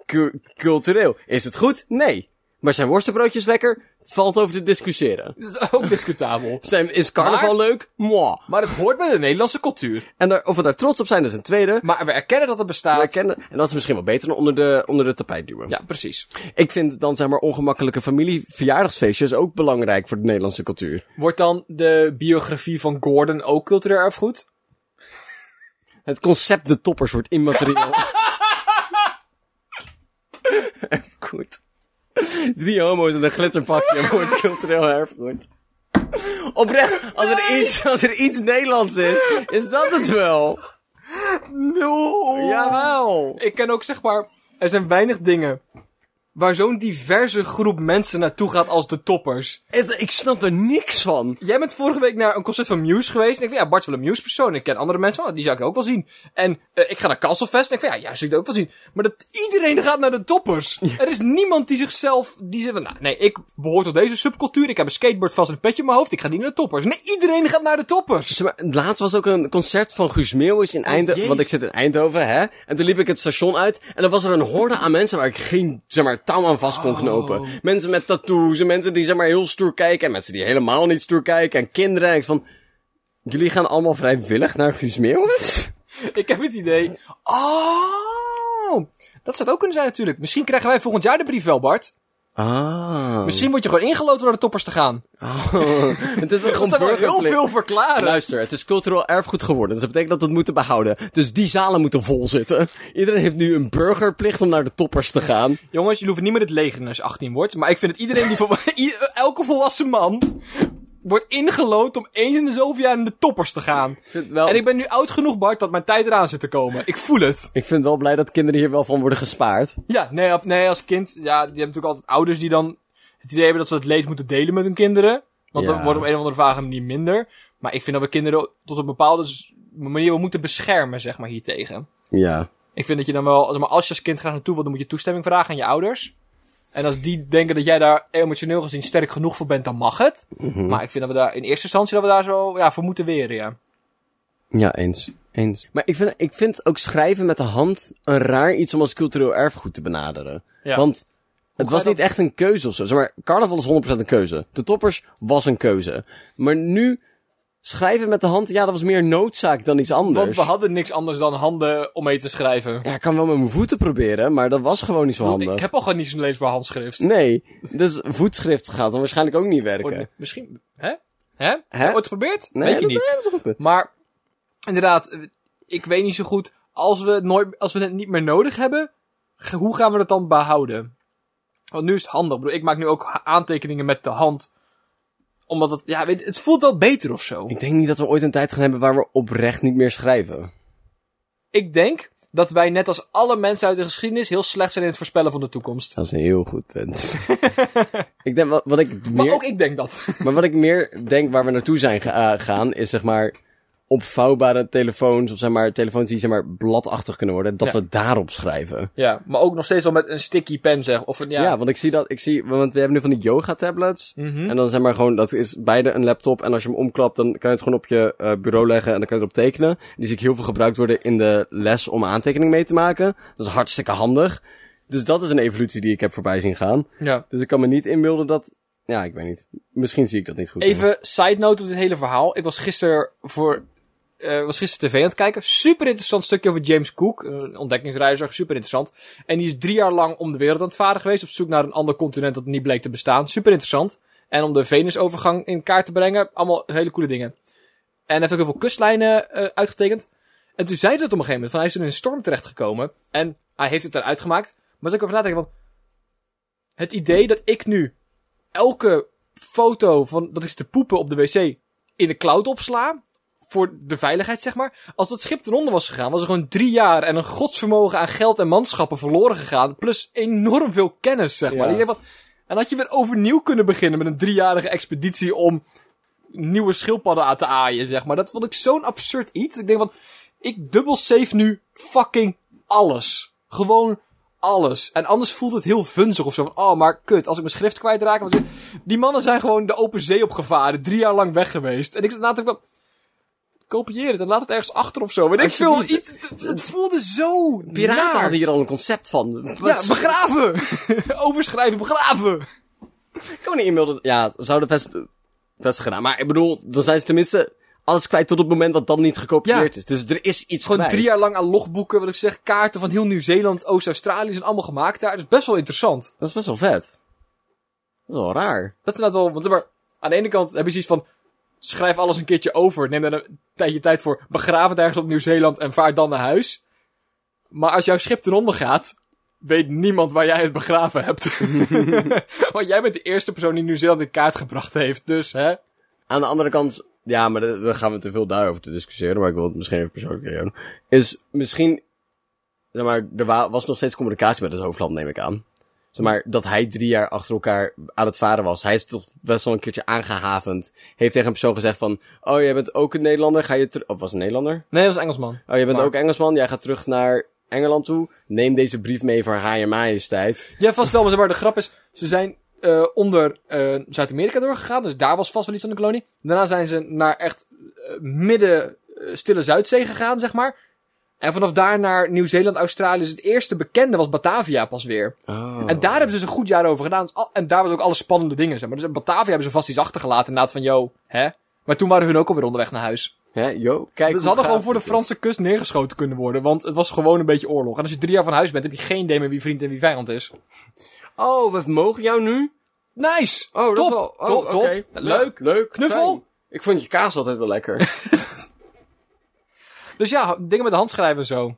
Speaker 1: cu- cultureel. Is het goed? Nee. Maar zijn worstenbroodjes lekker? Valt over te discussiëren.
Speaker 2: Dat is ook discutabel.
Speaker 1: Zijn, is carnaval leuk? Mwah.
Speaker 2: Maar het hoort bij de Nederlandse cultuur.
Speaker 1: En daar, of we daar trots op zijn, dat is een tweede.
Speaker 2: Maar we erkennen dat het bestaat.
Speaker 1: Maar erkennen- en dat is misschien wel beter dan onder de, onder de tapijt duwen.
Speaker 2: Ja, precies.
Speaker 1: Ik vind dan zeg maar ongemakkelijke familieverjaardagsfeestjes ook belangrijk voor de Nederlandse cultuur.
Speaker 2: Wordt dan de biografie van Gordon ook cultureel erfgoed?
Speaker 1: Het concept de toppers wordt immaterieel. erfgoed. Drie homo's in een glitterpakje wordt cultureel erfgoed. Oprecht, als er, iets, als er iets Nederlands is, is dat het wel.
Speaker 2: No!
Speaker 1: Jawel.
Speaker 2: Ik ken ook zeg maar, er zijn weinig dingen waar zo'n diverse groep mensen naartoe gaat als de toppers.
Speaker 1: Het- ik snap er niks van.
Speaker 2: Jij bent vorige week naar een concert van Muse geweest. En ik vind, ja, Bart is wel een Muse persoon. Ik ken andere mensen, oh, die zou ik ook wel zien. En eh, ik ga naar Castlefest. En ik vind, ja, ja, zou ik dat ook wel zien. Maar dat iedereen gaat naar de toppers. Er is niemand die zichzelf, die zegt van, nou, nee, ik behoor tot deze subcultuur. Ik heb een skateboard vast en een petje op mijn hoofd. Ik ga niet naar de toppers. Nee, iedereen gaat naar de toppers.
Speaker 1: Zeg maar, laatst was ook een concert van Guus Meeuwis in Eindhoven.
Speaker 2: jezus.
Speaker 1: want ik zit in Eindhoven, hè. En toen liep ik het station uit. En dan was er een horde aan mensen waar ik geen, zeg maar, touw aan vast
Speaker 2: Oh.
Speaker 1: kon knopen. Mensen met tattoos en mensen die, zeg maar, heel stoer kijken. En mensen die helemaal niet stoer kijken. En kinderen. En ik van, jullie gaan allemaal vrijwillig naar Guus Meeuwis?
Speaker 2: Ik heb het idee. Oh, dat zou het ook kunnen zijn natuurlijk. Misschien krijgen wij volgend jaar de brief wel, Bart.
Speaker 1: Ah.
Speaker 2: Misschien word je gewoon ingeloten om naar de toppers te gaan.
Speaker 1: Oh. het is
Speaker 2: Dat
Speaker 1: gewoon
Speaker 2: zou wel heel
Speaker 1: burgerplicht.
Speaker 2: veel verklaren.
Speaker 1: Luister, het is cultureel erfgoed geworden. Dus dat betekent dat we het moeten behouden. Dus die zalen moeten vol zitten. Iedereen heeft nu een burgerplicht om naar de toppers te gaan.
Speaker 2: Jongens, jullie hoeven niet meer het leger als je 18 wordt. Maar ik vind dat iedereen die... vol- i- elke volwassen man... wordt ingelood om eens in de zoveel jaar naar de toppers te gaan.
Speaker 1: vind wel-
Speaker 2: En ik ben nu oud genoeg, Bart, dat mijn tijd eraan zit te komen. Ik voel het.
Speaker 1: Ik vind wel blij dat kinderen hier wel van worden gespaard.
Speaker 2: Ja, nee, op- nee als kind... Ja, die hebben natuurlijk altijd ouders die dan... het idee hebben dat ze het leed moeten delen met hun kinderen. Want
Speaker 1: Ja.
Speaker 2: dan wordt op een of andere vage manier minder. Maar ik vind dat we kinderen tot een bepaalde s- manier... wel moeten beschermen, zeg maar, hiertegen.
Speaker 1: Ja.
Speaker 2: Ik vind dat je dan wel, zeg maar als je als kind graag naartoe wil, dan moet je toestemming vragen aan je ouders. En als die denken dat jij daar emotioneel gezien sterk genoeg voor bent, dan mag het.
Speaker 1: Mhm.
Speaker 2: Maar ik vind dat we daar in eerste instantie dat we daar zo ja, voor moeten weren, ja.
Speaker 1: Ja, eens. Eens. Maar ik vind, ik vind ook schrijven met de hand een raar iets om als cultureel erfgoed te benaderen.
Speaker 2: Ja.
Speaker 1: Want het
Speaker 2: ga
Speaker 1: was
Speaker 2: je
Speaker 1: niet
Speaker 2: dat-
Speaker 1: echt een keuze of zo. Zeg maar, carnaval is 100% een keuze. De toppers was een keuze. Maar nu schrijven met de hand, ja, dat was meer noodzaak dan iets
Speaker 2: Want
Speaker 1: anders.
Speaker 2: we hadden niks anders dan handen om mee te schrijven.
Speaker 1: Ja, ik kan wel met mijn voeten proberen, maar dat was gewoon niet zo
Speaker 2: Oh, Ik
Speaker 1: handig.
Speaker 2: heb al gewoon niet zo'n leesbaar handschrift.
Speaker 1: Nee, dus voetschrift gaat dan waarschijnlijk ook niet werken.
Speaker 2: Misschien, hè? Hè? Heb je Ooit geprobeerd? Oh, Weet je
Speaker 1: dat-
Speaker 2: niet.
Speaker 1: nee, dat is een goed punt.
Speaker 2: Maar inderdaad, eh, ik weet niet zo goed. Als we het, nooit, als we het niet meer nodig hebben, ge- hoe gaan we het dan behouden? Want nu is het handig. Ik, bedoel, ik maak nu ook ha- aantekeningen met de hand. Omdat het, ja, weet, je, het voelt wel beter of zo.
Speaker 1: Ik denk niet dat we ooit een tijd gaan hebben waar we oprecht niet meer schrijven.
Speaker 2: Ik denk dat wij net als alle mensen uit de geschiedenis heel slecht zijn in het voorspellen van de toekomst.
Speaker 1: Dat is een heel goed punt. ik denk, wat, wat ik meer...
Speaker 2: Maar ook ik denk dat.
Speaker 1: Maar wat ik meer denk waar we naartoe zijn gegaan, is zeg maar opvouwbare telefoons, of zeg maar telefoons die zeg maar bladachtig kunnen worden, dat
Speaker 2: Ja.
Speaker 1: we daarop schrijven.
Speaker 2: ja, maar ook nog steeds wel met een sticky pen zeg. Of een,
Speaker 1: Ja.
Speaker 2: ja.
Speaker 1: want ik zie dat, ik zie, want we hebben nu van die yoga tablets.
Speaker 2: Mhm.
Speaker 1: En dan zeg maar gewoon, dat is beide een laptop. En als je hem omklapt, dan kan je het gewoon op je eh, bureau leggen en dan kan je erop tekenen. Die zie ik heel veel gebruikt worden in de les om aantekening mee te maken. Dat is hartstikke handig. Dus dat is een evolutie die ik heb voorbij zien gaan.
Speaker 2: ja.
Speaker 1: Dus ik kan me niet inbeelden dat, ja, ik weet niet. Misschien zie ik dat niet goed.
Speaker 2: Even side note op dit hele verhaal. Ik was gisteren voor. eh, was gisteren tv aan het kijken. Super interessant stukje over James Cook. Een ontdekkingsreiziger. Super interessant. En die is drie jaar lang om de wereld aan het varen geweest. Op zoek naar een ander continent dat niet bleek te bestaan. Super interessant. En om de Venusovergang in kaart te brengen. Allemaal hele coole dingen. En hij heeft ook heel veel kustlijnen eh, uitgetekend. En toen zei ze het op een gegeven moment. Van hij is in een storm terechtgekomen. En hij heeft het eruit gemaakt. Maar toen ik over nadenken. Want het idee dat ik nu elke foto van dat ik zit te poepen op de wc in de cloud opsla. Voor de veiligheid, zeg maar. Als dat schip eronder was gegaan, was er gewoon drie jaar en een godsvermogen aan geld en manschappen verloren gegaan. Plus enorm veel kennis, zeg maar.
Speaker 1: Ja.
Speaker 2: Ik denk van, en had je weer overnieuw kunnen beginnen met een driejarige expeditie om nieuwe schildpadden aan te aaien, zeg maar. Dat vond ik zo'n absurd iets. Ik denk van, ik dubbel save nu fucking alles. Gewoon alles. En anders voelt het heel vunzig of zo. Van, oh, maar kut, als ik mijn schrift kwijtraak. Want die mannen zijn gewoon de open zee opgevaren. Drie jaar lang weg geweest. En ik zat na te denken van, kopieer het en laat het ergens achter of zo. Weet ik veel,
Speaker 1: Alsjeblieft.
Speaker 2: iets, het, het voelde zo
Speaker 1: Piraten
Speaker 2: naar.
Speaker 1: hadden hier al een concept van.
Speaker 2: Ja, begraven! Overschrijven, begraven!
Speaker 1: Ik kan me niet inbeelden. Ja, ze zouden het best, best gedaan. Maar ik bedoel, dan zijn ze tenminste alles kwijt tot het moment dat dat niet gekopieerd is. Dus er is iets
Speaker 2: Gewoon
Speaker 1: kwijt.
Speaker 2: drie jaar lang aan logboeken, wat ik zeg, kaarten van heel Nieuw-Zeeland, Oost-Australië zijn allemaal gemaakt daar. Dat is best wel interessant.
Speaker 1: Dat is best wel vet. Dat is wel raar.
Speaker 2: Dat is inderdaad wel. Want, maar aan de ene kant heb je zoiets van. Schrijf alles een keertje over. Neem daar een tijdje tijd voor. Begraaf het ergens op Nieuw-Zeeland en vaar dan naar huis. Maar als jouw schip eronder gaat. Weet niemand waar jij het begraven hebt. Want jij bent de eerste persoon die Nieuw-Zeeland in kaart gebracht heeft. Dus, hè?
Speaker 1: Aan de andere kant, ja, maar daar daar gaan we te veel daarover te discussiëren. Maar ik wil het misschien even persoonlijk doen. Is misschien, zeg maar, er wa- was nog steeds communicatie met het hoofdland, neem ik aan. Zeg maar, dat hij drie jaar achter elkaar aan het varen was. Hij is toch best wel een keertje aangehavend. Heeft tegen een persoon gezegd van, oh, jij bent ook een Nederlander, ga je terug... Of was het een Nederlander?
Speaker 2: Nee, dat is Engelsman.
Speaker 1: Oh, je bent
Speaker 2: Maar-
Speaker 1: ook Engelsman. Jij gaat terug naar Engeland toe. Neem deze brief mee voor haar en majesteit.
Speaker 2: Ja, vast wel. Maar zeg maar de grap is, ze zijn eh, onder eh, Zuid-Amerika doorgegaan. Dus daar was vast wel iets van de kolonie. Daarna zijn ze naar echt eh, midden eh, stille Zuidzee gegaan, zeg maar. En vanaf daar naar Nieuw-Zeeland, Australië. Dus het eerste bekende was Batavia pas weer.
Speaker 1: Oh.
Speaker 2: En daar hebben ze dus een goed jaar over gedaan. Dus al- en daar was ook alle spannende dingen, zeg maar. Dus in Batavia hebben ze vast iets achtergelaten. Inderdaad van, yo, hè. Maar toen waren hun ook alweer onderweg naar huis.
Speaker 1: Hè, yo, kijk
Speaker 2: Ze
Speaker 1: hoe
Speaker 2: hadden gewoon
Speaker 1: gaaf
Speaker 2: voor de
Speaker 1: dit is.
Speaker 2: Franse kust neergeschoten kunnen worden. Want het was gewoon een beetje oorlog. En als je drie jaar van huis bent, heb je geen idee meer wie vriend en wie vijand is.
Speaker 1: Oh, we mogen jou nu?
Speaker 2: Nice!
Speaker 1: Oh, dat
Speaker 2: top.
Speaker 1: is wel... Oh,
Speaker 2: top, top.
Speaker 1: oké.
Speaker 2: Leuk.
Speaker 1: Ja, leuk.
Speaker 2: Knuffel?
Speaker 1: Fijn. Ik vond je kaas altijd wel lekker.
Speaker 2: Dus ja, dingen met de hand schrijven en zo.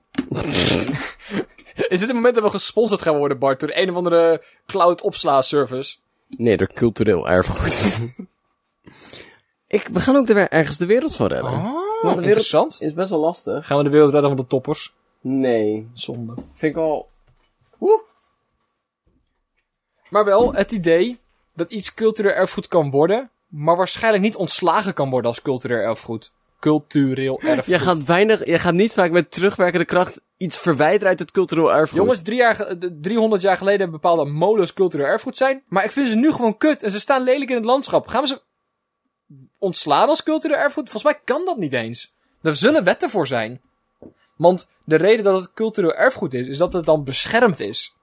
Speaker 2: Is dit het moment dat we gesponsord gaan worden, Bart, door een of andere cloud opsla service?
Speaker 1: nee, door cultureel erfgoed. ik, we gaan ook er weer ergens de wereld van redden.
Speaker 2: Wat
Speaker 1: Oh, wereld-
Speaker 2: interessant.
Speaker 1: Is best wel lastig.
Speaker 2: Gaan we de wereld redden van de toppers?
Speaker 1: Nee.
Speaker 2: Zonde.
Speaker 1: Vind ik al...
Speaker 2: Maar wel het idee dat iets cultureel erfgoed kan worden, maar waarschijnlijk niet ontslagen kan worden als cultureel erfgoed. Cultureel erfgoed.
Speaker 1: Jij gaat weinig... Jij gaat niet vaak met terugwerkende kracht iets verwijderen uit het cultureel erfgoed.
Speaker 2: Jongens, drie jaar, ge- eh, d- 300 jaar geleden hebben bepaalde molens cultureel erfgoed zijn. Maar ik vind ze nu gewoon kut. En ze staan lelijk in het landschap. Gaan we ze ontslaan als cultureel erfgoed? Volgens mij kan dat niet eens. Er zullen wetten voor zijn. Want de reden dat het cultureel erfgoed is, is dat het dan beschermd is.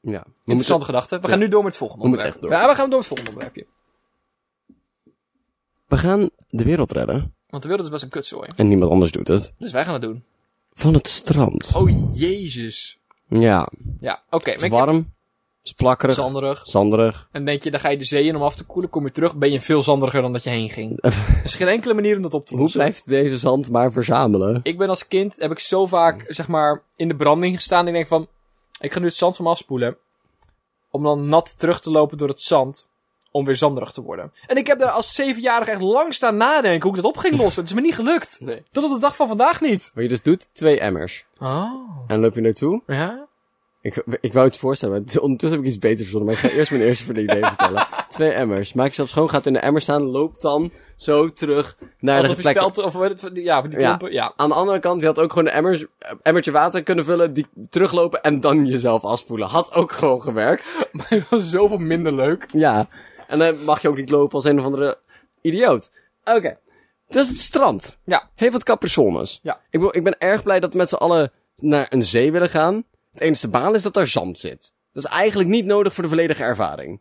Speaker 1: Ja. We moeten-
Speaker 2: Interessante gedachte. We gaan nu door met het volgende
Speaker 1: We moeten
Speaker 2: onderwerp.
Speaker 1: echt door.
Speaker 2: Ja, we gaan door met het volgende onderwerpje.
Speaker 1: We gaan de wereld redden.
Speaker 2: Want de wereld is best een kutzooi.
Speaker 1: En niemand anders doet het.
Speaker 2: Dus wij gaan het doen.
Speaker 1: Van het strand.
Speaker 2: Oh, jezus.
Speaker 1: Ja,
Speaker 2: Ja, oké.
Speaker 1: het
Speaker 2: maar
Speaker 1: is
Speaker 2: ik-
Speaker 1: warm. Het is plakkerig,
Speaker 2: Zanderig.
Speaker 1: zanderig.
Speaker 2: En denk je, dan ga je de zee in om af te koelen. Kom je terug, ben je veel zanderiger dan dat je heen ging. Er is geen enkele manier om dat op te
Speaker 1: Eh, Hoe
Speaker 2: lossen.
Speaker 1: blijft deze zand maar verzamelen?
Speaker 2: Ik ben als kind, heb ik zo vaak, zeg maar, in de branding gestaan. Ik denk van, ik ga nu het zand van me afspoelen. Om dan nat terug te lopen door het zand. Om weer zanderig te worden. En ik heb daar als zevenjarige echt lang staan nadenken hoe ik dat op ging lossen. Het is me niet gelukt.
Speaker 1: Nee.
Speaker 2: Tot op de dag van vandaag niet.
Speaker 1: Wat je dus doet, twee emmers.
Speaker 2: Oh.
Speaker 1: En loop je naartoe.
Speaker 2: Ja?
Speaker 1: Ik, ik wou het voorstellen, maar ondertussen heb ik iets beters verzonnen. Maar ik ga eerst mijn eerste verdient idee vertellen. Twee emmers. Maak jezelf schoon, gaat in de emmer staan, loopt dan zo terug naar
Speaker 2: Alsof
Speaker 1: de
Speaker 2: je
Speaker 1: plek.
Speaker 2: stelt, of weet het, van die- ja, van die
Speaker 1: Ja.
Speaker 2: klompen, ja.
Speaker 1: Aan de andere kant, je had ook gewoon een emmers, emmertje water kunnen vullen, die teruglopen en dan jezelf afspoelen. Had ook gewoon gewerkt.
Speaker 2: Maar het was zoveel minder leuk.
Speaker 1: Ja. En dan mag je ook niet lopen als een of andere idioot. Oké. Het is het strand.
Speaker 2: Ja.
Speaker 1: Heeft wat capricornes.
Speaker 2: Ja.
Speaker 1: Ik, bedoel, ik ben erg blij dat we met z'n allen naar een zee willen gaan. Het enige baal is dat daar zand zit. Dat is eigenlijk niet nodig voor de volledige ervaring.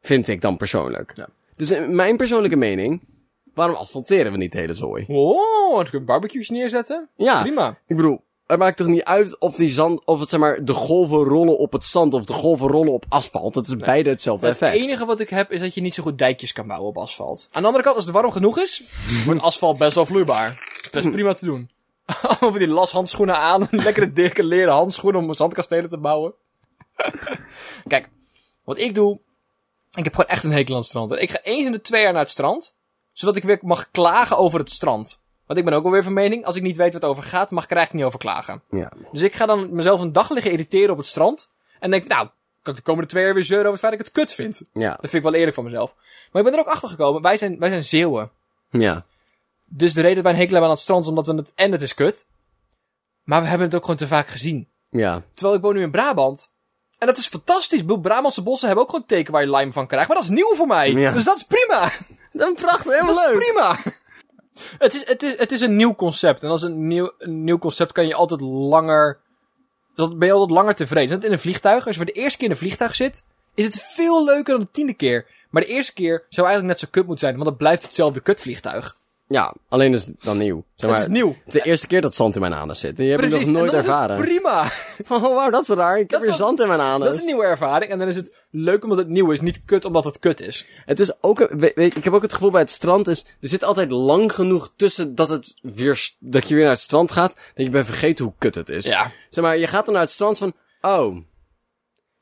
Speaker 1: Vind ik dan persoonlijk.
Speaker 2: Ja.
Speaker 1: Dus in mijn persoonlijke mening, waarom asfalteren we niet de hele zooi?
Speaker 2: Oh, dan kun je barbecues neerzetten.
Speaker 1: Ja.
Speaker 2: Prima.
Speaker 1: Ik bedoel, het maakt toch niet uit of die zand, of het zeg maar de golven rollen op het zand of de golven rollen op asfalt. Dat is beide hetzelfde effect.
Speaker 2: Het enige wat ik heb is dat je niet zo goed dijkjes kan bouwen op asfalt. Aan de andere kant, als het warm genoeg is, wordt asfalt best wel vloeibaar. Is Best prima te doen. Allemaal van die lashandschoenen aan, lekkere dikke leren handschoenen om zandkastelen te bouwen. Kijk, wat ik doe, ik heb gewoon echt een hekel aan het strand. Ik ga eens in de twee jaar naar het strand, zodat ik weer mag klagen over het strand. Want ik ben ook alweer van mening, als ik niet weet wat het over gaat, mag ik er eigenlijk niet over klagen.
Speaker 1: Ja.
Speaker 2: Dus ik ga dan mezelf een dag liggen irriteren op het strand. En denk, nou, kan ik de komende twee jaar weer zeuren over het feit dat ik het kut vind.
Speaker 1: Ja.
Speaker 2: Dat vind ik wel eerlijk van mezelf. Maar ik ben er ook achter gekomen, wij zijn, wij zijn Zeeuwen.
Speaker 1: Ja.
Speaker 2: Dus de reden dat wij een hekel hebben aan het strand is omdat we het, en het is kut. Maar we hebben het ook gewoon te vaak gezien.
Speaker 1: Ja.
Speaker 2: Terwijl ik woon nu in Brabant. En dat is fantastisch. Ik bedoel, Brabantse bossen hebben ook gewoon teken waar je lime van krijgt. Maar dat is nieuw voor mij.
Speaker 1: Ja.
Speaker 2: Dus dat is prima.
Speaker 1: Dan prachtig, helemaal
Speaker 2: Dat is
Speaker 1: leuk.
Speaker 2: prima. Het is, het, is, het is een nieuw concept. En als een nieuw, een nieuw concept kan je altijd langer. Dan ben je altijd langer tevreden. Net in een vliegtuig. Als je voor de eerste keer in een vliegtuig zit, is het veel leuker dan de tiende keer. Maar de eerste keer zou eigenlijk net zo kut moeten zijn, want het blijft hetzelfde kutvliegtuig.
Speaker 1: Ja, alleen is het dan nieuw. Zeg
Speaker 2: Het
Speaker 1: maar,
Speaker 2: is nieuw.
Speaker 1: Het is de eerste keer dat zand in mijn anus zit. Die heb ik nog
Speaker 2: Precies. En
Speaker 1: nooit
Speaker 2: dan is het
Speaker 1: ervaren.
Speaker 2: Prima.
Speaker 1: Oh, wauw, dat is raar. Ik
Speaker 2: Dat
Speaker 1: heb weer
Speaker 2: was-
Speaker 1: zand in mijn anus.
Speaker 2: Dat is een nieuwe ervaring. En dan is het leuk omdat het nieuw is, niet kut omdat het kut is.
Speaker 1: Het is ook... een- Weet, weet- ik heb ook het gevoel bij het strand is... Er zit altijd lang genoeg tussen dat, het weer, s- dat je weer naar het strand gaat... dat je bent vergeten hoe kut het is.
Speaker 2: Ja.
Speaker 1: Zeg maar, je gaat dan naar het strand van... Oh,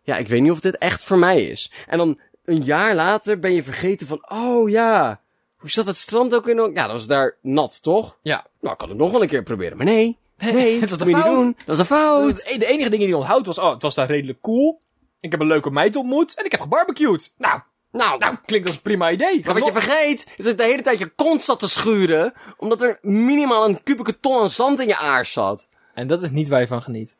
Speaker 1: ja, ik weet niet of dit echt voor mij is. En dan een jaar later ben je vergeten van... Oh ja, hoe zat het strand ook in... Ja, dat was daar nat, toch?
Speaker 2: Ja.
Speaker 1: Nou, ik kan het nog wel een keer proberen. Maar nee, nee,
Speaker 2: het was
Speaker 1: dat
Speaker 2: een
Speaker 1: moet je niet
Speaker 2: fout.
Speaker 1: doen. Dat is een fout.
Speaker 2: Dus e- De enige dingen die je onthoudt was, oh, het was daar redelijk cool. Ik heb een leuke meid ontmoet en ik heb gebarbecued. Nou,
Speaker 1: Nou,
Speaker 2: nou klinkt als een prima idee.
Speaker 1: maar wat je vergeet, is dat de hele tijd je kont zat te schuren, omdat er minimaal een kubieke ton aan zand in je aars zat.
Speaker 2: En dat is niet waar je van geniet.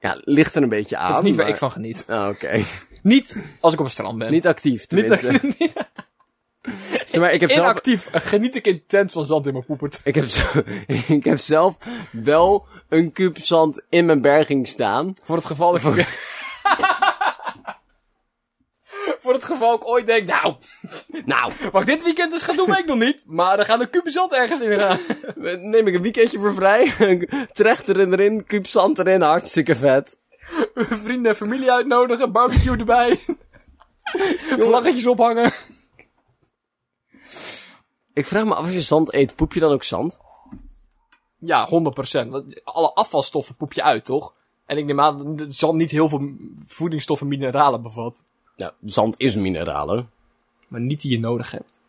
Speaker 1: Ja, ligt er een beetje aan.
Speaker 2: Dat is niet waar
Speaker 1: maar-
Speaker 2: ik van geniet.
Speaker 1: Ah, Oké,
Speaker 2: Niet als ik op het strand ben.
Speaker 1: niet actief tenminste. Zeg maar, ik heb zelf
Speaker 2: Inactief. Geniet ik intens van zand in mijn poepert.
Speaker 1: Ik heb, zo- ik heb zelf wel een kuub zand in mijn berging staan.
Speaker 2: Voor het geval dat ik... Voor het geval ik ooit denk, nou,
Speaker 1: Nou,
Speaker 2: wat ik dit weekend eens ga doen, weet ik nog niet. Maar er gaan een kuub zand ergens in gaan.
Speaker 1: neem ik een weekendje voor vrij. Trecht erin, erin, kuub zand erin, hartstikke vet.
Speaker 2: Vrienden en familie uitnodigen, barbecue erbij. Vlaggetjes ophangen.
Speaker 1: Ik vraag me af, als je zand eet, poep je dan ook zand?
Speaker 2: Ja, 100%. Want alle afvalstoffen poep je uit, toch? En ik neem aan dat zand niet heel veel voedingsstoffen en mineralen bevat.
Speaker 1: Nou, zand is mineralen.
Speaker 2: Maar niet die je nodig hebt.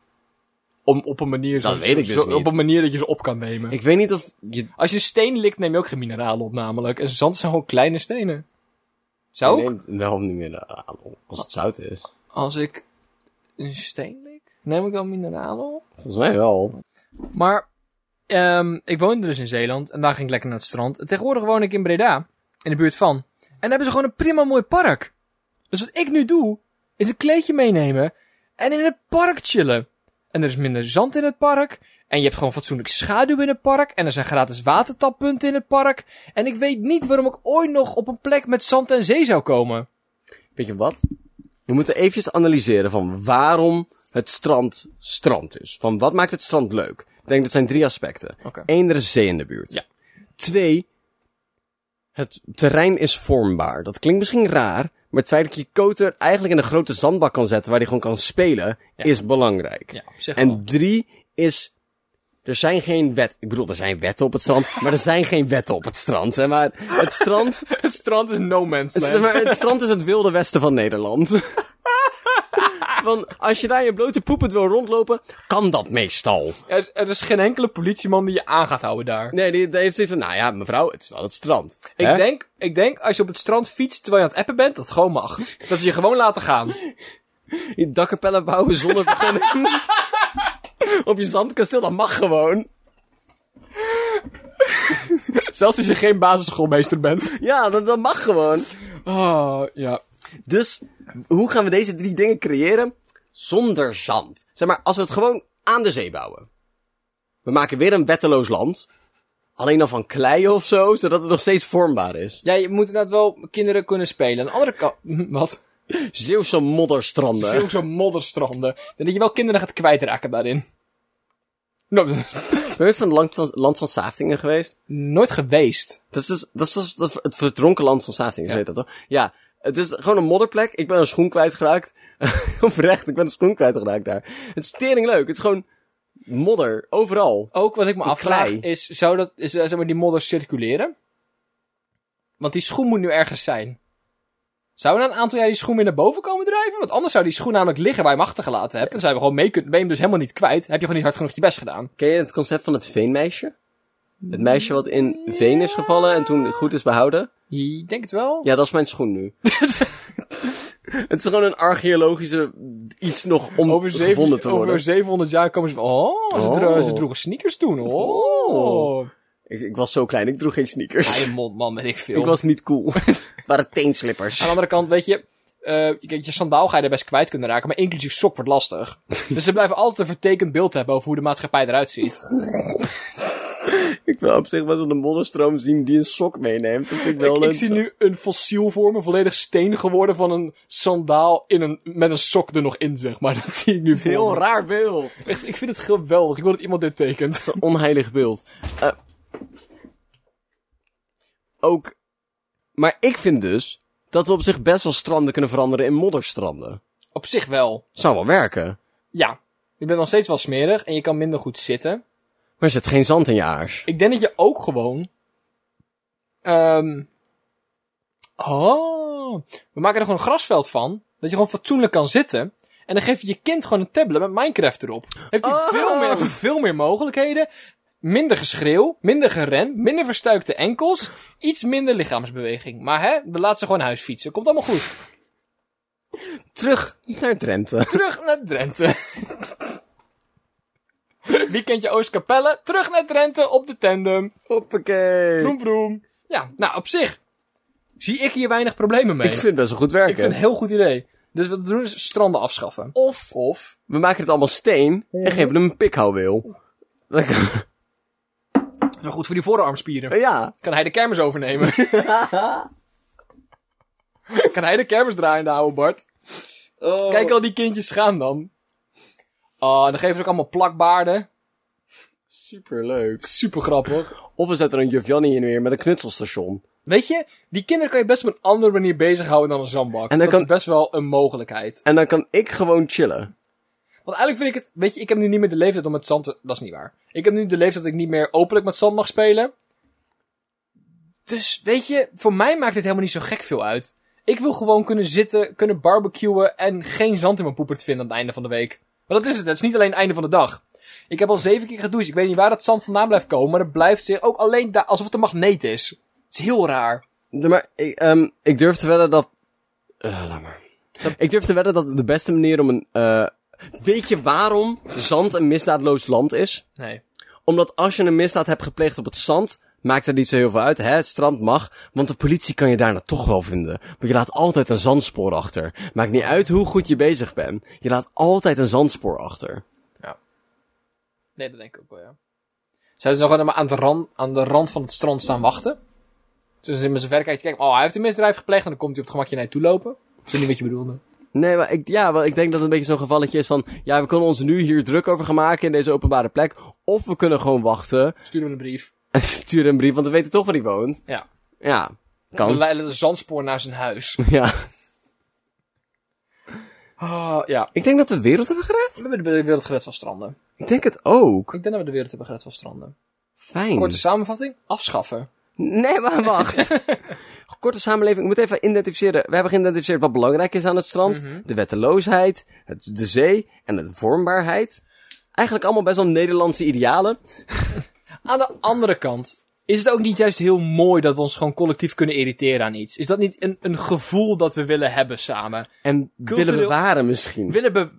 Speaker 2: Om op een manier zo,
Speaker 1: Dat weet ik
Speaker 2: zo-
Speaker 1: dus
Speaker 2: zo-
Speaker 1: niet.
Speaker 2: op een manier dat je ze op kan nemen.
Speaker 1: Ik weet niet of je...
Speaker 2: Als je een steen likt, neem je ook geen mineralen op, namelijk. En zand zijn gewoon kleine stenen. Zou
Speaker 1: Je
Speaker 2: ik?
Speaker 1: neemt wel niet mineralen op, als het zout is.
Speaker 2: Als ik een steen lik, neem ik dan mineralen op?
Speaker 1: Volgens mij wel.
Speaker 2: Maar ehm, ik woonde dus in Zeeland en daar ging ik lekker naar het strand. En tegenwoordig woon ik in Breda, in de buurt van. En daar hebben ze gewoon een prima mooi park. Dus wat ik nu doe, is een kleedje meenemen en in het park chillen. En er is minder zand in het park. En je hebt gewoon fatsoenlijk schaduw in het park. En er zijn gratis watertappunten in het park. En ik weet niet waarom ik ooit nog op een plek met zand en zee zou komen.
Speaker 1: Weet je wat? We moeten eventjes analyseren van waarom het strand strand is. Van wat maakt het strand leuk? Ik denk dat zijn drie aspecten.
Speaker 2: Oké.
Speaker 1: Eén, er is zee in de buurt.
Speaker 2: Ja.
Speaker 1: Twee, Het terrein is vormbaar. Dat klinkt misschien raar, maar het feit dat je Koter eigenlijk in een grote zandbak kan zetten waar hij gewoon kan spelen,
Speaker 2: Ja.
Speaker 1: is belangrijk.
Speaker 2: Ja, op zich wel.
Speaker 1: En drie is, er zijn geen wet. Ik bedoel, er zijn wetten op het strand, maar er zijn geen wetten op het strand. Zeg maar het strand,
Speaker 2: Het strand is no man's land.
Speaker 1: zeg maar, het strand is het wilde westen van Nederland. Want als je daar in je blote poepet wil rondlopen, kan dat meestal.
Speaker 2: Er, is- er is geen enkele politieman die je aan gaat houden daar.
Speaker 1: Nee, die, die heeft zoiets van, nou ja, mevrouw, het is wel het strand. Hè?
Speaker 2: Ik denk, ik denk, als je op het strand fietst terwijl je aan het appen bent, dat het gewoon mag. Dat ze je gewoon laten gaan.
Speaker 1: Je dakkapellen bouwen zonder vergunning. Op je zandkasteel, dat mag gewoon.
Speaker 2: Zelfs als je geen basisschoolmeester bent.
Speaker 1: Ja, dat, dat mag gewoon.
Speaker 2: Oh, ja.
Speaker 1: Dus, hoe gaan we deze drie dingen creëren? Zonder zand. Zeg maar, als we het gewoon aan de zee bouwen. We maken weer een wetteloos land. Alleen dan van klei of zo, zodat het nog steeds vormbaar is.
Speaker 2: Ja, je moet inderdaad wel kinderen kunnen spelen. Aan de andere kant... Hm, Wat?
Speaker 1: Zeeuwse modderstranden.
Speaker 2: Zulke modderstranden. Dan dat je wel kinderen gaat kwijtraken daarin. No-
Speaker 1: Ben je ooit van het land van, land van Saftingen geweest?
Speaker 2: Nooit geweest.
Speaker 1: Dat is, dus- dat is dus dat- het verdronken land van Sating,
Speaker 2: Ja.
Speaker 1: weet dat toch? Ja, het is gewoon een modderplek. Ik ben een schoen kwijtgeraakt. Oprecht, ik ben een schoen kwijtgeraakt daar. Het is tering leuk. Het is gewoon modder, overal.
Speaker 2: Ook wat ik me afvraag
Speaker 1: klei.
Speaker 2: is, zou dat, is, eh, zeg maar, die modder circuleren? Want die schoen moet nu ergens zijn. Zou na een aantal jaar die schoen weer naar boven komen drijven? Want anders zou die schoen namelijk liggen waar je hem achtergelaten hebt. En zou je hem gewoon mee kunnen, ben je hem dus helemaal niet kwijt. Heb je gewoon niet hard genoeg je best gedaan.
Speaker 1: Ken je het concept van het veenmeisje? Het meisje wat in veen is gevallen en toen goed is behouden?
Speaker 2: Ik denk het wel.
Speaker 1: Ja, dat is mijn schoen nu. het is gewoon een archeologische iets nog om
Speaker 2: Over, zeven-
Speaker 1: gevonden te worden.
Speaker 2: over 700 jaar komen ze van, oh, ze, dro-
Speaker 1: Oh.
Speaker 2: ze droegen sneakers toen, oh.
Speaker 1: Oh. Ik, ik was zo klein, ik droeg geen sneakers.
Speaker 2: Ah, je mond, man, ben ik veel.
Speaker 1: ik was niet cool. Het waren teenslippers.
Speaker 2: Aan de andere kant, weet je, eh, je, je sandaal ga je er best kwijt kunnen raken, maar inclusief sok wordt lastig. dus ze blijven altijd een vertekend beeld hebben over hoe de maatschappij eruit ziet.
Speaker 1: Ik wil op zich wel zo'n modderstroom zien die een sok meeneemt. Dat vind ik wel
Speaker 2: ik,
Speaker 1: leuk.
Speaker 2: ik zie nu een fossiel vormen, volledig steen geworden van een sandaal in een, met een sok er nog in, zeg maar. Dat zie ik nu voor me.
Speaker 1: Heel raar beeld.
Speaker 2: Echt, ik vind het geweldig. Ik wil dat iemand dit tekent.
Speaker 1: Een onheilig beeld. Eh, ook... Maar ik vind dus dat we op zich best wel stranden kunnen veranderen in modderstranden.
Speaker 2: Op zich wel.
Speaker 1: Zou wel werken.
Speaker 2: Ja. Je bent nog steeds wel smerig en je kan minder goed zitten.
Speaker 1: Maar er zit geen zand in je aars.
Speaker 2: Ik denk dat je ook gewoon. ehm oh. We maken er gewoon een grasveld van. Dat je gewoon fatsoenlijk kan zitten. En dan geef je je kind gewoon een tablet met Minecraft erop. Heeft hij
Speaker 1: Oh.
Speaker 2: veel, meer- heeft hij veel meer mogelijkheden. Minder geschreeuw, minder geren, minder verstuikte enkels. Iets minder lichaamsbeweging. Maar hè, we laten ze gewoon huisfietsen. Komt allemaal goed.
Speaker 1: Terug naar Drenthe.
Speaker 2: Terug naar Drenthe. Weekendje Oostkapelle. Terug naar Drenthe op de tandem.
Speaker 1: Hoppakee.
Speaker 2: Vroom, vroom. Ja, nou, op zich zie ik hier weinig problemen mee.
Speaker 1: Ik vind het best wel goed
Speaker 2: Ik vind
Speaker 1: werken.
Speaker 2: het een heel goed idee. Dus wat we doen is stranden afschaffen.
Speaker 1: Of
Speaker 2: Of...
Speaker 1: we maken het allemaal steen en geven hem een pikhouweel. Dan kan-
Speaker 2: Dat is wel goed voor die voorarmspieren.
Speaker 1: Ja.
Speaker 2: Kan hij de kermis overnemen? kan hij de kermis draaiende houden, Bart? Kijk al die kindjes gaan dan. Oh, dan geven ze ook allemaal plakbaarden.
Speaker 1: Superleuk.
Speaker 2: Super grappig.
Speaker 1: Of we zetten een juf Jannie in weer met een knutselstation.
Speaker 2: Weet je, die kinderen kan je best op een andere manier bezighouden dan een zandbak.
Speaker 1: En dan
Speaker 2: dat
Speaker 1: kan-
Speaker 2: is best wel een mogelijkheid.
Speaker 1: En dan kan ik gewoon chillen.
Speaker 2: Want eigenlijk vind ik het... Weet je, ik heb nu niet meer de leeftijd om met zand te... Dat is niet waar. Ik heb nu de leeftijd dat ik niet meer openlijk met zand mag spelen. Dus, weet je, voor mij maakt het helemaal niet zo gek veel uit. Ik wil gewoon kunnen zitten, kunnen barbecuen en geen zand in mijn poepert vinden aan het einde van de week. Maar dat is het. Het is niet alleen het einde van de dag. Ik heb al zeven keer gedoucht. Ik weet niet waar dat zand vandaan blijft komen, maar het blijft zich ook alleen daar... Alsof het een magneet is. Het is heel raar.
Speaker 1: Nee, Maar ik, ehm, ik durf te wedden dat... Eh, laat maar. Ik durf te wedden dat de beste manier om een... eh, Weet je waarom zand een misdaadloos land is?
Speaker 2: Nee.
Speaker 1: Omdat als je een misdaad hebt gepleegd op het zand... Maakt het niet zo heel veel uit, hè? Het strand mag. Want de politie kan je daarna toch wel vinden. Want je laat altijd een zandspoor achter. Maakt niet uit hoe goed je bezig bent. Je laat altijd een zandspoor achter.
Speaker 2: Nee, dat denk ik ook wel, ja. Zijn ze nog helemaal aan de, rand, aan de rand van het strand staan wachten? Dus ze zijn met zijn verrekijker kijken, oh, hij heeft een misdrijf gepleegd en dan komt hij op het gemakje naar je toe lopen. Is dat niet wat je bedoelde?
Speaker 1: Nee, maar ik, ja, wel, ik denk dat het een beetje zo'n gevalletje is van... Ja, we kunnen ons nu hier druk over gaan maken in deze openbare plek. Of we kunnen gewoon wachten
Speaker 2: Stuur hem een brief.
Speaker 1: en sturen een brief, want we weten toch waar hij woont.
Speaker 2: Ja.
Speaker 1: Ja.
Speaker 2: Dan
Speaker 1: Kan.
Speaker 2: leidde de zandspoor naar zijn huis.
Speaker 1: Ja.
Speaker 2: Ah, ja.
Speaker 1: Ik denk dat we de wereld hebben gered.
Speaker 2: We hebben de wereld gered van stranden.
Speaker 1: Ik denk het ook.
Speaker 2: Ik denk dat we de wereld hebben gered van stranden.
Speaker 1: Fijn.
Speaker 2: Korte samenvatting? Afschaffen.
Speaker 1: Nee, maar wacht. Korte samenleving. Ik moet even identificeren. We hebben geïdentificeerd wat belangrijk is aan het strand. De wetteloosheid, het, de zee en de vormbaarheid. Eigenlijk allemaal best wel Nederlandse idealen.
Speaker 2: Aan de andere kant, is het ook niet juist heel mooi dat we ons gewoon collectief kunnen irriteren aan iets? Is dat niet een, een gevoel dat we willen hebben samen?
Speaker 1: En willen
Speaker 2: Cultureel-
Speaker 1: bewaren misschien.
Speaker 2: Willen we,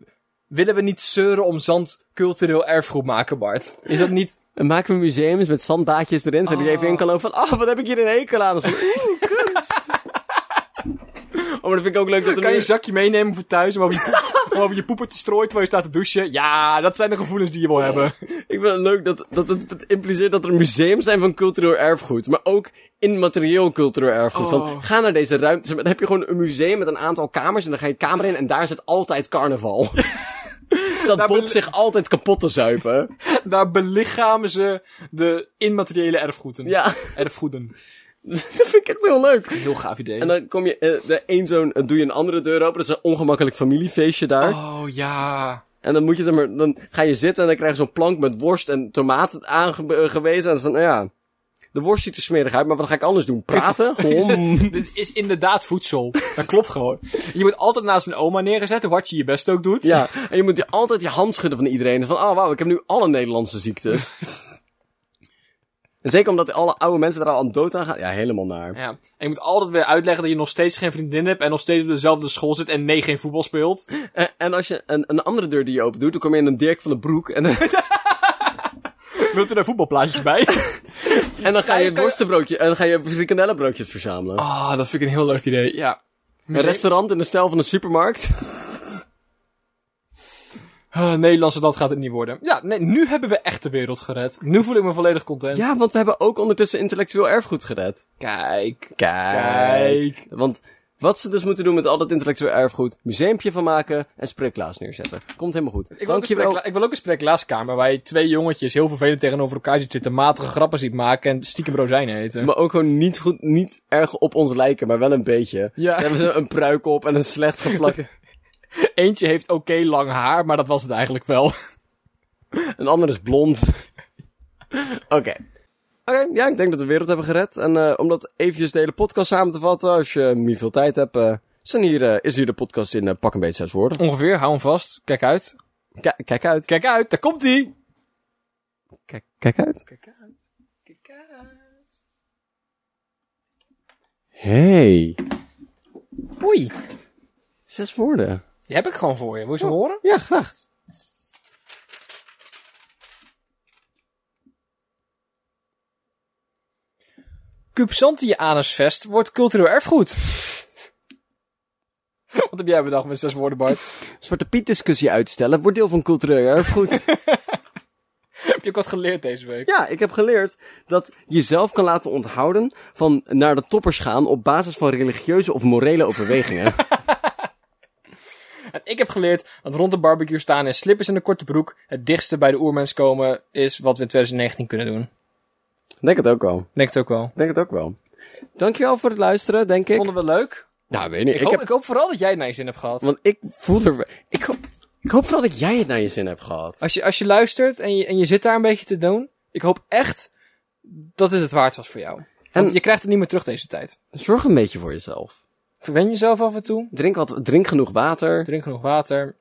Speaker 2: willen we niet zeuren om zand cultureel erfgoed maken, Bart? Is dat niet...
Speaker 1: En maken we museums met zandbaadjes erin. Zodat je
Speaker 2: Ah.
Speaker 1: even in kan lopen van... Ah, wat heb ik hier een hekel aan? Of zo, Oeh, kunst. oh, maar dat vind ik ook leuk dat er
Speaker 2: Kan
Speaker 1: nu-
Speaker 2: je een zakje meenemen voor thuis om over je, poep- om over je poepen te strooien terwijl je staat te douchen? Ja, dat zijn de gevoelens die je wil hebben.
Speaker 1: Ik vind het leuk dat, dat het, het impliceert dat er museums zijn van cultureel erfgoed. Maar ook immaterieel cultureel erfgoed. Van,
Speaker 2: Oh.
Speaker 1: ga naar deze ruimte. Dan heb je gewoon een museum met een aantal kamers. En dan ga je de kamer in en daar zit altijd carnaval. Staat Bob
Speaker 2: bele-
Speaker 1: zich altijd kapot te zuipen.
Speaker 2: Daar belichamen ze de immateriële erfgoeden.
Speaker 1: Ja,
Speaker 2: Erfgoeden.
Speaker 1: dat vind ik echt heel leuk.
Speaker 2: Heel gaaf idee.
Speaker 1: En dan kom je, eh, de een zo'n, eh, doe je een andere deur open. Dat is een ongemakkelijk familiefeestje daar.
Speaker 2: Oh ja.
Speaker 1: En dan moet je, zeg maar, dan ga je zitten en dan krijg je zo'n plank met worst en tomaten aangewezen. En dan van, nou ja, de worst ziet er smerig uit, maar wat ga ik anders doen? Praten? Hom.
Speaker 2: Dit is inderdaad voedsel. Dat klopt gewoon. Je wordt altijd naast een oma neergezet, hoe hard je je best ook doet.
Speaker 1: Ja, en je moet je altijd je hand schudden van iedereen. Van, oh wauw, ik heb nu alle Nederlandse ziektes. en zeker omdat alle oude mensen daar al aan dood aan gaan. Ja, helemaal naar.
Speaker 2: Ja. En je moet altijd weer uitleggen dat je nog steeds geen vriendin hebt en nog steeds op dezelfde school zit en nee geen voetbal speelt.
Speaker 1: En, en als je een, een andere deur die je open doet, dan kom je in een Dirk van de Broek. En, dan-
Speaker 2: Wilt u daar voetbalplaatjes bij?
Speaker 1: en dan ga
Speaker 2: Stijn,
Speaker 1: je Oh,
Speaker 2: kan je-
Speaker 1: worstenbroodje en dan ga je frikandellenbroodjes verzamelen.
Speaker 2: Ah, dat vind ik een heel leuk idee. Ja.
Speaker 1: een restaurant in de stijl van een supermarkt.
Speaker 2: Ah, Nederlandse dat gaat het niet worden. Ja, nee, nu hebben we echt de wereld gered. Nu voel ik me volledig content.
Speaker 1: ja, want we hebben ook ondertussen intellectueel erfgoed gered.
Speaker 2: Kijk.
Speaker 1: Kijk. Want wat ze dus moeten doen met al dat intellectueel erfgoed, museumpje van maken en spreeklaas neerzetten. Komt helemaal goed.
Speaker 2: Ik wil, ook een
Speaker 1: Dankjewel.
Speaker 2: spreekla- ik wil ook een spreeklaaskamer waar je twee jongetjes heel vervelend tegenover elkaar ziet zitten, matige grappen ziet maken en stiekem rozijnen eten.
Speaker 1: Maar ook gewoon niet goed, niet erg op ons lijken, maar wel een beetje.
Speaker 2: Ja.
Speaker 1: Ze hebben ze een pruik op en een slecht geplakte.
Speaker 2: Eentje heeft oké lang haar, maar dat was het eigenlijk wel.
Speaker 1: Een ander is blond. Oké. Oké, ja, ik denk dat we de wereld hebben gered. En eh, om dat eventjes de hele podcast samen te vatten, als je niet veel tijd hebt, eh, zijn hier, eh, is hier de podcast in eh, pak een beetje zes woorden.
Speaker 2: Ongeveer, hou hem vast. Kijk uit.
Speaker 1: Ki- kijk uit.
Speaker 2: Kijk uit, daar komt hij.
Speaker 1: Kijk, kijk uit.
Speaker 2: Kijk uit. Kijk uit.
Speaker 1: Hey.
Speaker 2: Oei,
Speaker 1: Zes woorden.
Speaker 2: die heb ik gewoon voor je. Wil je ze horen?
Speaker 1: Ja, graag.
Speaker 2: Cupsantianusvest wordt cultureel erfgoed. Wat heb jij bedacht met zes woorden, Bart?
Speaker 1: Zwarte Piet discussie uitstellen wordt deel van cultureel erfgoed.
Speaker 2: heb je ook wat geleerd deze week?
Speaker 1: Ja, ik heb geleerd dat je zelf kan laten onthouden van naar de toppers gaan op basis van religieuze of morele overwegingen.
Speaker 2: En ik heb geleerd dat rond de barbecue staan in slippers en een korte broek het dichtste bij de oermens komen is wat we in 2019 kunnen doen.
Speaker 1: Denk het ook wel.
Speaker 2: Denk het ook wel.
Speaker 1: Denk het ook wel. Dankjewel voor het luisteren, denk ik.
Speaker 2: Vonden we leuk?
Speaker 1: Nou, weet je niet.
Speaker 2: Ik,
Speaker 1: Ik,
Speaker 2: hoop,
Speaker 1: heb...
Speaker 2: ik hoop vooral dat jij het naar je zin hebt gehad.
Speaker 1: Want ik voel er... Ik hoop... ik hoop vooral dat jij het naar je zin hebt gehad.
Speaker 2: Als je, als je luistert en je, en je zit daar een beetje te doen, ik hoop echt dat dit het waard was voor jou. Want
Speaker 1: En-
Speaker 2: je krijgt het niet meer terug deze tijd.
Speaker 1: Zorg een beetje voor jezelf.
Speaker 2: Verwen jezelf af en toe,
Speaker 1: Drink, wat, drink genoeg water.
Speaker 2: drink genoeg water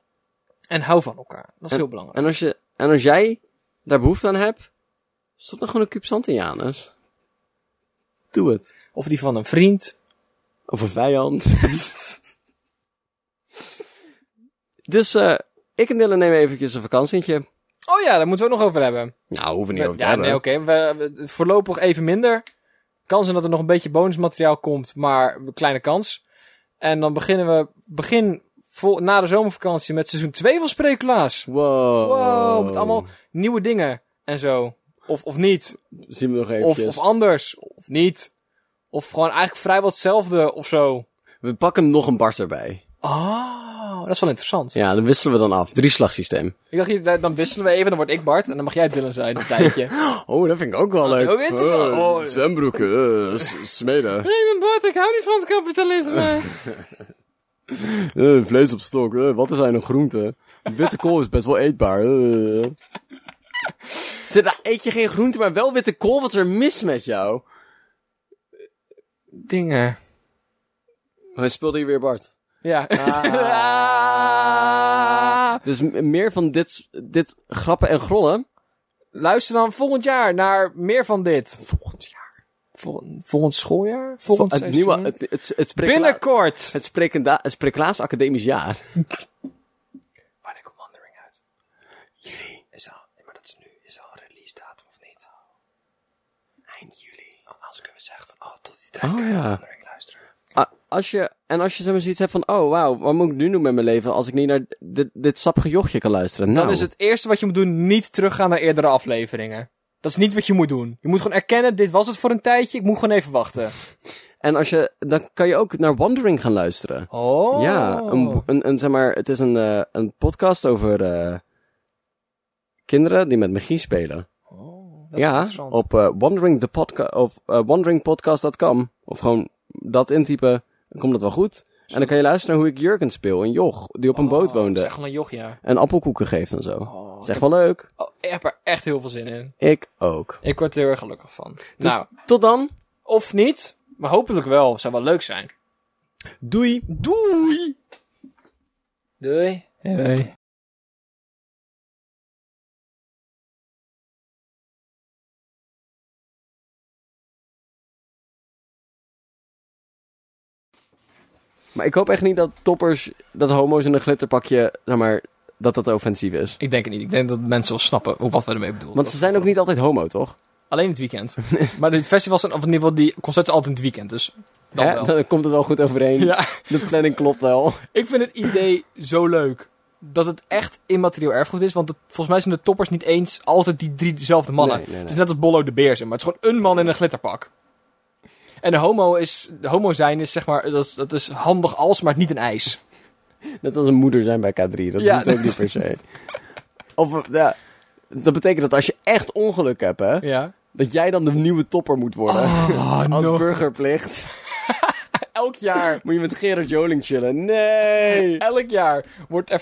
Speaker 2: en hou van elkaar. Dat is heel belangrijk.
Speaker 1: En als, je, en als jij daar behoefte aan hebt, stop dan gewoon een kuub zand in je anus. Doe het.
Speaker 2: Of die van een vriend.
Speaker 1: Of een vijand. dus eh ik en Dylan nemen eventjes een vakantientje.
Speaker 2: Oh ja, daar moeten we het nog over hebben.
Speaker 1: Nou, hoeven we niet
Speaker 2: Ja,
Speaker 1: over te hebben.
Speaker 2: nee, oké. We- we- Voorlopig even minder. Kans zijn dat er nog een beetje bonusmateriaal komt, maar een kleine kans. En dan beginnen we begin vol- na de zomervakantie met seizoen 2 van Spreeklaas.
Speaker 1: Wow.
Speaker 2: Wow, met allemaal nieuwe dingen en zo. Of, of niet.
Speaker 1: Zien we nog
Speaker 2: Of,
Speaker 1: eventjes.
Speaker 2: of anders. Of niet. Of gewoon eigenlijk vrijwel hetzelfde of zo.
Speaker 1: We pakken nog een bar erbij.
Speaker 2: Oh, Dat is wel interessant.
Speaker 1: Ja, dan wisselen we dan af. Drie slagsysteem.
Speaker 2: Ik dacht, hier, dan wisselen we even, dan word ik Bart en dan mag jij Dylan zijn een tijdje.
Speaker 1: Oh, dat vind ik ook wel leuk.
Speaker 2: ook interessant.
Speaker 1: Oh,
Speaker 2: Oh, ja.
Speaker 1: zwembroeken, eh, s- smeden.
Speaker 2: Nee, mijn Bart, ik hou niet van het kapitalisme.
Speaker 1: Eh, vlees op stok. eh, wat is hij een groente? Witte kool is best wel eetbaar. eh. Zit, nou, eet je geen groente, maar wel witte kool? Wat is er mis met jou?
Speaker 2: Dingen.
Speaker 1: Hij speelde hier weer Bart.
Speaker 2: Ja. Ah.
Speaker 1: Dus m- meer van dit, dit grappen en grollen.
Speaker 2: Luister dan volgend jaar naar meer van dit.
Speaker 1: Volgend jaar.
Speaker 2: Vol- volgend schooljaar? Volgend
Speaker 1: Het
Speaker 2: seizoen?
Speaker 1: nieuwe, het, het, het, sprekla-
Speaker 2: Binnenkort.
Speaker 1: het, sprekenda- het spreklaas academisch jaar.
Speaker 2: Wanneer komt Wandering uit?
Speaker 1: Juli.
Speaker 2: Is al, maar dat is nu. Is al een release datum of niet?
Speaker 1: Eind juli.
Speaker 2: Anders kunnen we zeggen van, oh, tot die
Speaker 1: Oh, kunnen we ja.
Speaker 2: Wandering luisteren.
Speaker 1: Ah, als je, en als je zeg maar zoiets hebt van, oh wauw, wat moet ik nu doen met mijn leven als ik niet naar dit, dit sappige jochje kan luisteren?
Speaker 2: Dan
Speaker 1: Nou,
Speaker 2: is het eerste wat je moet doen niet teruggaan naar eerdere afleveringen. Dat is niet wat je moet doen. Je moet gewoon erkennen, dit was het voor een tijdje, ik moet gewoon even wachten.
Speaker 1: En als je, dan kan je ook naar Wandering gaan luisteren.
Speaker 2: Oh.
Speaker 1: Ja, een, bo- een, een, zeg maar, het is een, eh, een podcast over eh, kinderen die met magie spelen.
Speaker 2: Oh, dat is
Speaker 1: Ja,
Speaker 2: interessant.
Speaker 1: op eh wandering the podca- of eh, wanderingpodcast.com. Of gewoon dat intypen, dan komt het wel goed. En dan kan je luisteren naar hoe ik Jurgen speel, een joch, die op een boot
Speaker 2: Dat
Speaker 1: woonde.
Speaker 2: is echt wel Oh, een joch, ja.
Speaker 1: En appelkoeken geeft en zo.
Speaker 2: Oh,
Speaker 1: Dat is
Speaker 2: ik,
Speaker 1: echt wel leuk.
Speaker 2: oh, ik heb er echt heel veel zin in.
Speaker 1: Ik ook.
Speaker 2: Ik word er heel erg gelukkig van.
Speaker 1: Dus
Speaker 2: Nou,
Speaker 1: tot dan.
Speaker 2: of niet, maar hopelijk wel. Zou wel leuk zijn.
Speaker 1: Doei. Doei.
Speaker 2: Doei. Doei.
Speaker 1: Maar ik hoop echt niet dat toppers, dat homo's in een glitterpakje, zeg maar, dat dat offensief is.
Speaker 2: Ik denk het niet. Ik denk dat mensen wel snappen hoe- wat we ermee bedoelen.
Speaker 1: Want ze zijn ook niet altijd homo, toch?
Speaker 2: Alleen in het weekend. maar de festivals zijn, of in ieder geval die concerten zijn altijd in het weekend, dus dan
Speaker 1: Hè?
Speaker 2: wel.
Speaker 1: dan komt het wel goed overeen.
Speaker 2: Ja,
Speaker 1: De planning klopt wel.
Speaker 2: ik vind het idee zo leuk. Dat het echt immaterieel erfgoed is. Want het- volgens mij zijn de toppers niet eens altijd die drie dezelfde mannen.
Speaker 1: Nee, nee, nee.
Speaker 2: Het is net als Bollo de Beer, zeg maar het is gewoon een man in een glitterpak. En de homo, is, de homo zijn is zeg maar, dat is, dat is handig als, maar niet een eis.
Speaker 1: Net als een moeder zijn bij K3. Dat
Speaker 2: Ja,
Speaker 1: hoeft ook niet per se. Of, eh, ja, dat betekent dat als je echt ongeluk hebt, hè,
Speaker 2: Ja.
Speaker 1: dat jij dan de nieuwe topper moet worden.
Speaker 2: Oh,
Speaker 1: Als
Speaker 2: no.
Speaker 1: burgerplicht
Speaker 2: Elk jaar,
Speaker 1: moet je met Gerard Joling chillen. Nee!
Speaker 2: elk jaar wordt er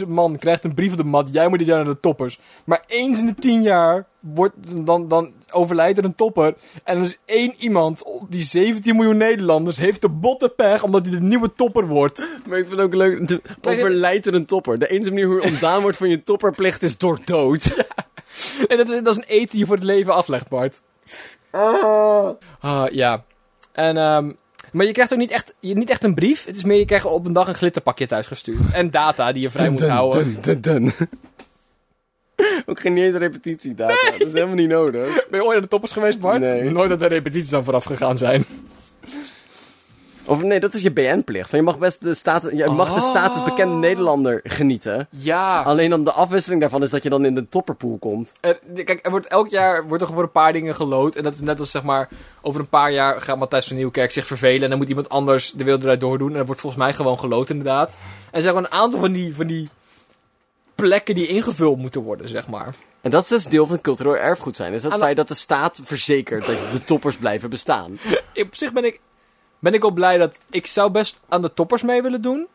Speaker 2: 50.000 man, krijgt een brief op de mat. Jij moet dit jaar naar de toppers. Maar eens in de 10 jaar wordt, dan, dan overlijdt er een topper. En er is één iemand, op die 17 miljoen Nederlanders, heeft de botte pech omdat hij de nieuwe topper wordt.
Speaker 1: Maar ik vind het ook leuk, de- overlijdt er een topper. De enige manier hoe je ontdaan wordt van je topperplicht is door dood.
Speaker 2: En dat is, dat is een eten die je voor het leven aflegt, Bart. Ah, ja. En, ehm, maar je krijgt ook niet echt, je, niet echt een brief. Het is meer, je krijgt op een dag een glitterpakje thuis gestuurd. En data die je vrij moet houden.
Speaker 1: dun, dun. Ook geen niet eens repetitiedata. Dat is helemaal niet nodig.
Speaker 2: Ben je ooit aan de toppers geweest, Bart?
Speaker 1: Nee.
Speaker 2: Nooit dat er repetities aan vooraf gegaan zijn.
Speaker 1: Of nee, dat is je BN-plicht. Je mag best de status, je mag de status bekende Nederlander genieten.
Speaker 2: Ja.
Speaker 1: Alleen dan de afwisseling daarvan is dat je dan in de topperpool komt.
Speaker 2: Er, kijk, er wordt elk jaar wordt er gewoon een paar dingen geloot. En dat is net als, zeg maar, over een paar jaar gaat Matthijs van Nieuwkerk zich vervelen. En dan moet iemand anders de wereld eruit doordoen. En dat wordt volgens mij gewoon geloot, inderdaad. En er zijn gewoon een aantal van die, van die plekken die ingevuld moeten worden, zeg maar.
Speaker 1: En dat is dus deel van het cultureel erfgoed zijn. Is dat
Speaker 2: Aan
Speaker 1: het
Speaker 2: de-
Speaker 1: feit dat de staat verzekert dat de toppers blijven bestaan.
Speaker 2: Op zich ben ik, ben ik wel blij dat ik zou best aan de toppers mee willen doen.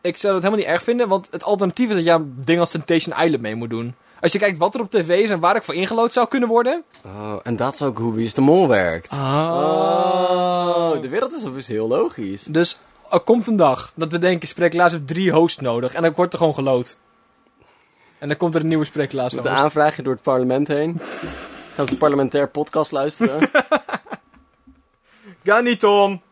Speaker 2: Ik zou dat helemaal niet erg vinden, want het alternatief is dat jij aan dingen als Temptation Island mee moet doen. Als je kijkt wat er op tv is en waar ik voor ingelood zou kunnen worden.
Speaker 1: Oh, en dat is ook hoe Wie is de Mol werkt. Oh, de wereld is dus heel logisch.
Speaker 2: Dus er komt een dag dat we denken, spreeklaas heeft drie hosts nodig. En dan wordt er gewoon gelood. En dan komt er een nieuwe spreeklaas
Speaker 1: Met een aanvraagje door het parlement heen. Gaan ze een parlementair podcast luisteren.
Speaker 2: Ganiton!